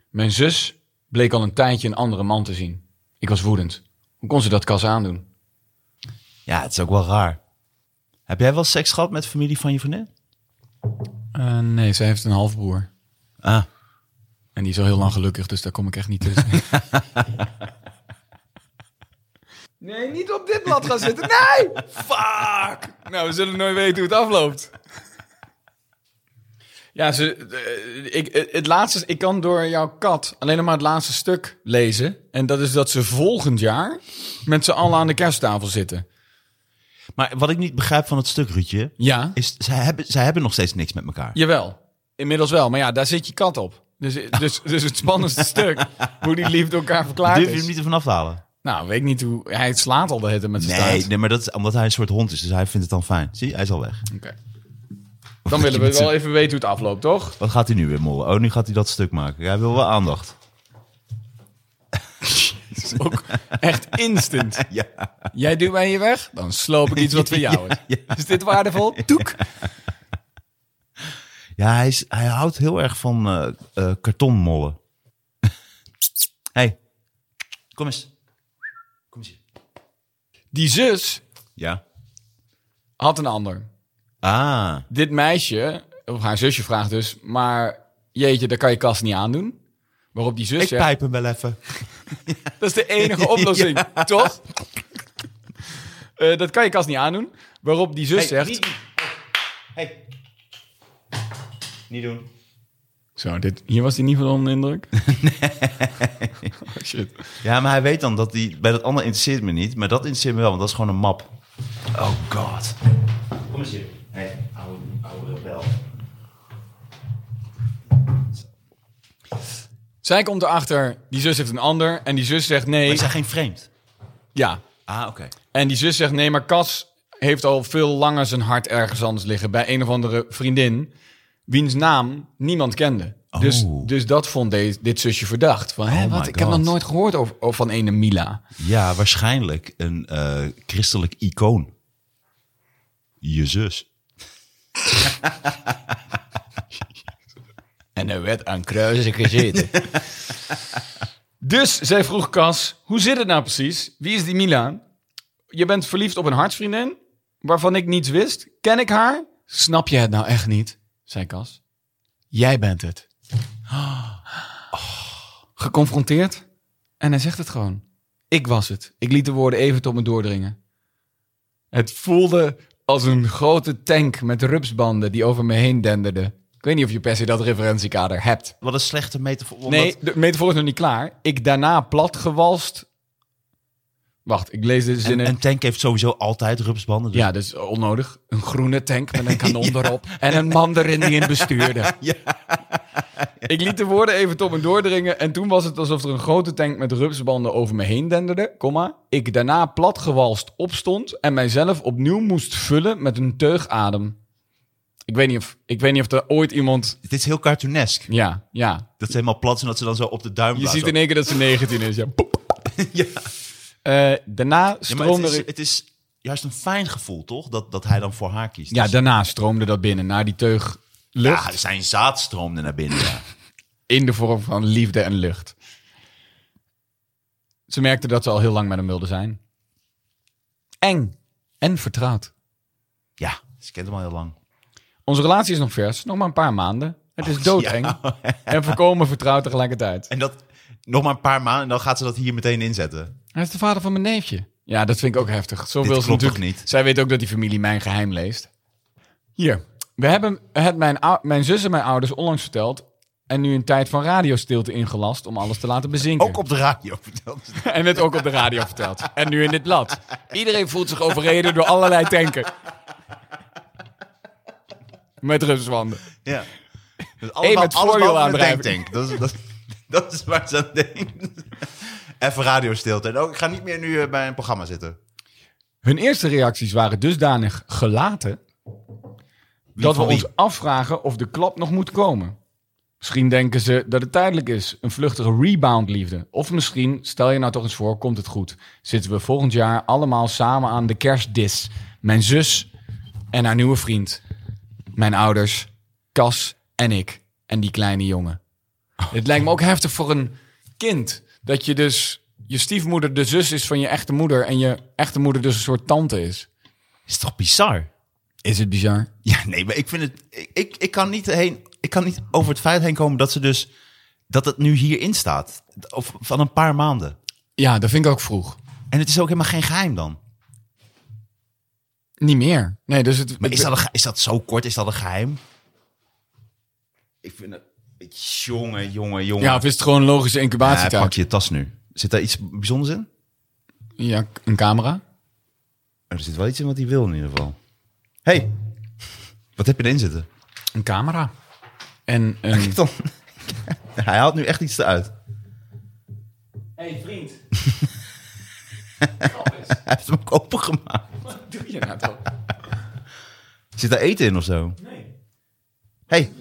[SPEAKER 3] Mijn zus bleek al een tijdje een andere man te zien. Ik was woedend. Hoe kon ze dat Cas aandoen?
[SPEAKER 2] Ja, het is ook wel raar. Heb jij wel seks gehad met familie van je vriendin?
[SPEAKER 3] Eh, nee, zij heeft een halfbroer.
[SPEAKER 2] Ah.
[SPEAKER 3] En die is al heel lang gelukkig, dus daar kom ik echt niet tussen. Nee, niet op dit blad gaan zitten. Nee! Fuck! Nou, we zullen nooit weten hoe het afloopt. Ja, ze, eh, ik, eh, het laatste, ik kan door jouw kat alleen nog maar het laatste stuk lezen. En dat is dat ze volgend jaar met z'n allen aan de kersttafel zitten.
[SPEAKER 2] Maar wat ik niet begrijp van het stuk, Ruudje,
[SPEAKER 3] Ja,
[SPEAKER 2] is zij hebben, zij hebben nog steeds niks met elkaar.
[SPEAKER 3] jawel. Inmiddels wel. Maar ja, daar zit je kat op. Dus, dus, dus het spannendste stuk, hoe die liefde elkaar verklaart
[SPEAKER 2] Durf je
[SPEAKER 3] is.
[SPEAKER 2] hem niet ervan af te halen?
[SPEAKER 3] Nou, weet ik niet hoe. Hij slaat al de hitte met zijn
[SPEAKER 2] Nee,
[SPEAKER 3] staart.
[SPEAKER 2] nee, maar dat is omdat hij een soort hond is, dus hij vindt het dan fijn. Zie, hij is al weg.
[SPEAKER 3] Oké. Dan willen we wel even weten hoe het afloopt, toch?
[SPEAKER 2] Wat gaat hij nu weer mollen? Oh, nu gaat hij dat stuk maken. Hij wil wel aandacht.
[SPEAKER 3] Ook echt instant.
[SPEAKER 2] Ja.
[SPEAKER 3] Jij duwt mij hier weg, dan sloop ik iets wat van jou is. Is dit waardevol? Toek.
[SPEAKER 2] Ja, hij, is, hij houdt heel erg van eh eh, kartonmollen. hey, Kom eens. Kom eens hier.
[SPEAKER 3] Die zus
[SPEAKER 2] Ja.
[SPEAKER 3] had een ander.
[SPEAKER 2] Ah.
[SPEAKER 3] Dit meisje, of haar zusje vraagt dus, maar jeetje, daar kan je kast niet aandoen. Waarop die zus
[SPEAKER 5] Ik
[SPEAKER 3] zegt,
[SPEAKER 5] pijp hem wel even.
[SPEAKER 3] dat is de enige oplossing, toch? Eh, dat kan je kast niet aandoen. Waarop die zus
[SPEAKER 2] Hey,
[SPEAKER 3] zegt...
[SPEAKER 2] niet- Hey. Niet doen.
[SPEAKER 3] Zo, dit, hier was hij niet van onder de indruk. Oh, shit.
[SPEAKER 2] Ja, maar hij weet dan dat die bij dat andere interesseert me niet, maar dat interesseert me wel, want dat is gewoon een map. Oh god. Kom eens hier. Hey, oude, oude rebel.
[SPEAKER 3] Zij komt erachter, die zus heeft een ander. En die zus zegt nee.
[SPEAKER 2] Is hij geen vreemd?
[SPEAKER 3] Ja.
[SPEAKER 2] Ah, oké.
[SPEAKER 3] En die zus zegt nee, maar Cas heeft al veel langer zijn hart ergens anders liggen. Bij een of andere vriendin, wiens naam niemand kende. Dus,
[SPEAKER 2] Oh.
[SPEAKER 3] dus dat vond de- dit zusje verdacht. Van, hè,
[SPEAKER 2] Oh
[SPEAKER 3] wat?
[SPEAKER 2] my
[SPEAKER 3] Ik heb nog
[SPEAKER 2] God.
[SPEAKER 3] nooit gehoord over, over van ene Mila.
[SPEAKER 2] Ja, waarschijnlijk een eh, christelijk icoon. Je zus.
[SPEAKER 3] En er werd aan kruisen gezeten. dus zij vroeg Cas, hoe zit het nou precies? Wie is die Mila? Je bent verliefd op een hartsvriendin, waarvan ik niets wist. Ken ik haar? Snap je het nou echt niet? zei Cas. Jij bent het. Oh. Geconfronteerd? En hij zegt het gewoon. Ik was het. Ik liet de woorden even tot me doordringen. Het voelde als een grote tank met rupsbanden die over me heen denderde. Ik weet niet of je per se dat referentiekader hebt.
[SPEAKER 2] Wat een slechte metafoor. omdat-
[SPEAKER 3] Nee, de metafoor is nog niet klaar. Ik daarna platgewalst. Wacht, ik lees deze
[SPEAKER 2] En,
[SPEAKER 3] zinnen.
[SPEAKER 2] een tank heeft sowieso altijd rupsbanden. dus-
[SPEAKER 3] Ja, dus onnodig. Een groene tank met een kanon erop. En een man erin die in bestuurde. Ik liet de woorden even tot me doordringen. En toen was het alsof er een grote tank met rupsbanden over me heen denderde. Komma. Ik daarna platgewalst opstond. En mijzelf opnieuw moest vullen met een teug adem. Ik weet niet of, ik weet niet of er ooit iemand.
[SPEAKER 2] Het is heel cartoonesk.
[SPEAKER 3] Ja, ja.
[SPEAKER 2] Dat ze helemaal plat zijn, dat ze dan zo op de duim
[SPEAKER 3] Je
[SPEAKER 2] blazen.
[SPEAKER 3] ziet in één keer dat ze 19 is. Ja. Poep.
[SPEAKER 2] Ja.
[SPEAKER 3] Eh, daarna
[SPEAKER 2] Ja, maar het
[SPEAKER 3] stroomde
[SPEAKER 2] is,
[SPEAKER 3] er.
[SPEAKER 2] het is juist een fijn gevoel, toch? Dat, dat hij dan voor haar kiest.
[SPEAKER 3] Ja,
[SPEAKER 2] Dus-
[SPEAKER 3] daarna stroomde dat binnen. Naar die teug lucht.
[SPEAKER 2] Ja, dus- zijn zaad stroomde naar binnen. ja.
[SPEAKER 3] in de vorm van liefde en lucht. Ze merkte dat ze al heel lang met hem wilde zijn. Eng en vertrouwd.
[SPEAKER 2] Ja, ze kent hem al heel lang.
[SPEAKER 3] Onze relatie is nog vers, nog maar een paar maanden. Het
[SPEAKER 2] Oh,
[SPEAKER 3] is doodeng en voorkomen vertrouwd tegelijkertijd.
[SPEAKER 2] En dat nog maar een paar maanden en dan gaat ze dat hier meteen inzetten.
[SPEAKER 3] Hij is de vader van mijn neefje. Ja, dat vind ik ook heftig. Zo
[SPEAKER 2] Dit
[SPEAKER 3] wil ze
[SPEAKER 2] klopt toch
[SPEAKER 3] natuurlijk
[SPEAKER 2] niet?
[SPEAKER 3] Zij weet ook dat die familie mijn geheim leest. Hier, we hebben het mijn, ou- mijn zus en mijn ouders onlangs verteld. En nu een tijd van radiostilte ingelast om alles te laten bezinken.
[SPEAKER 2] Ook op de radio verteld.
[SPEAKER 3] En het ook op de radio verteld. En nu in dit blad. Iedereen voelt zich overreden door allerlei tanken. Met rupswanden.
[SPEAKER 2] Ja. Dus
[SPEAKER 3] Eén met voorwiel
[SPEAKER 2] boven de
[SPEAKER 3] aandrijven.
[SPEAKER 2] tanktank. Dat is, dat, dat is waar ze aan denkt. Even radiostilte. En ook, ik ga niet meer nu eh, bij een programma zitten.
[SPEAKER 3] Hun eerste reacties waren dusdanig gelaten... dat we
[SPEAKER 2] van wie?
[SPEAKER 3] ons afvragen of de klap nog moet komen. Misschien denken ze dat het tijdelijk is. Een vluchtige reboundliefde. Of misschien, stel je nou toch eens voor, komt het goed. Zitten we volgend jaar allemaal samen aan de kerstdis. Mijn zus en haar nieuwe vriend. Mijn ouders, Cas en ik. En die kleine jongen. Het lijkt me ook heftig voor een kind. Dat je dus, je stiefmoeder de zus is van je echte moeder. En je echte moeder dus een soort tante is.
[SPEAKER 2] Is toch bizar?
[SPEAKER 3] Is het bizar?
[SPEAKER 2] Ja, nee, maar ik vind het. Ik, ik, ik, kan niet heen, ik kan niet over het feit heen komen dat ze dus. dat het nu hierin staat. Of van een paar maanden.
[SPEAKER 3] Ja, dat vind ik ook vroeg.
[SPEAKER 2] En het is ook helemaal geen geheim dan.
[SPEAKER 3] Niet meer. Nee, dus het,
[SPEAKER 2] Maar is dat, een ge- is dat zo kort? Is dat een geheim? Ik vind het. Jongen, jongen, jongen.
[SPEAKER 3] Ja, of is het gewoon logische
[SPEAKER 2] Ja, pak
[SPEAKER 3] incubatietijd?
[SPEAKER 2] je tas nu. Zit daar iets bijzonders in?
[SPEAKER 3] Ja, k- een camera.
[SPEAKER 2] Oh, Er zit wel iets in wat hij wil in ieder geval. hey, wat heb je erin zitten?
[SPEAKER 3] Een camera. En een...
[SPEAKER 2] Dan, hij haalt nu echt iets eruit.
[SPEAKER 3] hey, vriend.
[SPEAKER 2] Hij heeft hem ook opengemaakt.
[SPEAKER 3] Wat doe je nou toch?
[SPEAKER 2] Zit daar eten in of zo?
[SPEAKER 3] Nee,
[SPEAKER 2] hey,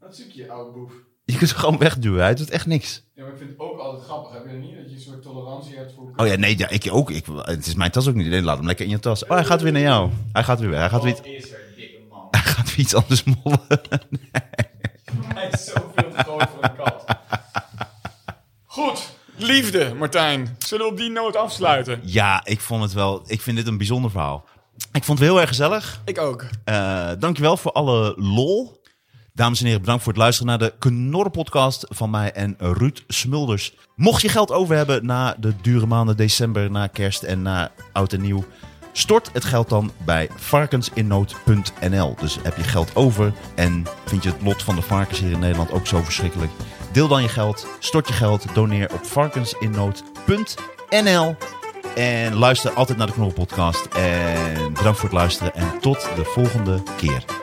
[SPEAKER 3] dat zoek je, oude boef.
[SPEAKER 2] je kunt hem gewoon wegduwen. Hij doet echt niks.
[SPEAKER 3] Ja, maar ik vind het ook altijd grappig. Heb je niet dat je een soort tolerantie hebt voor...
[SPEAKER 2] Oh ja, nee, ja, ik ook. Ik, het is mijn tas ook niet. Nee, laat hem lekker in je tas. Oh, hij gaat weer naar jou. Hij gaat weer weg. Hij gaat weer, iets-
[SPEAKER 3] is er, dikke man?
[SPEAKER 2] hij gaat weer iets anders mollen.
[SPEAKER 3] Hij is zoveel te groot voor een kat. Goed, lief. liefde, Martijn. Zullen we op die noot afsluiten?
[SPEAKER 2] Ja, ik vond het wel. Ik vind dit een bijzonder verhaal. Ik vond het heel erg gezellig.
[SPEAKER 3] Ik ook.
[SPEAKER 2] Eh, dankjewel voor alle lol. Dames en heren, bedankt voor het luisteren naar de Knorren-podcast van mij en Ruud Smulders. Mocht je geld over hebben na de dure maanden december, na kerst en na oud en nieuw, stort het geld dan bij varkensinnood.nl. Dus heb je geld over en vind je het lot van de varkens hier in Nederland ook zo verschrikkelijk? Deel dan je geld, stort je geld, doneer op varkensinnood.nl. En luister altijd naar de Knorren Podcast. En bedankt voor het luisteren. En tot de volgende keer.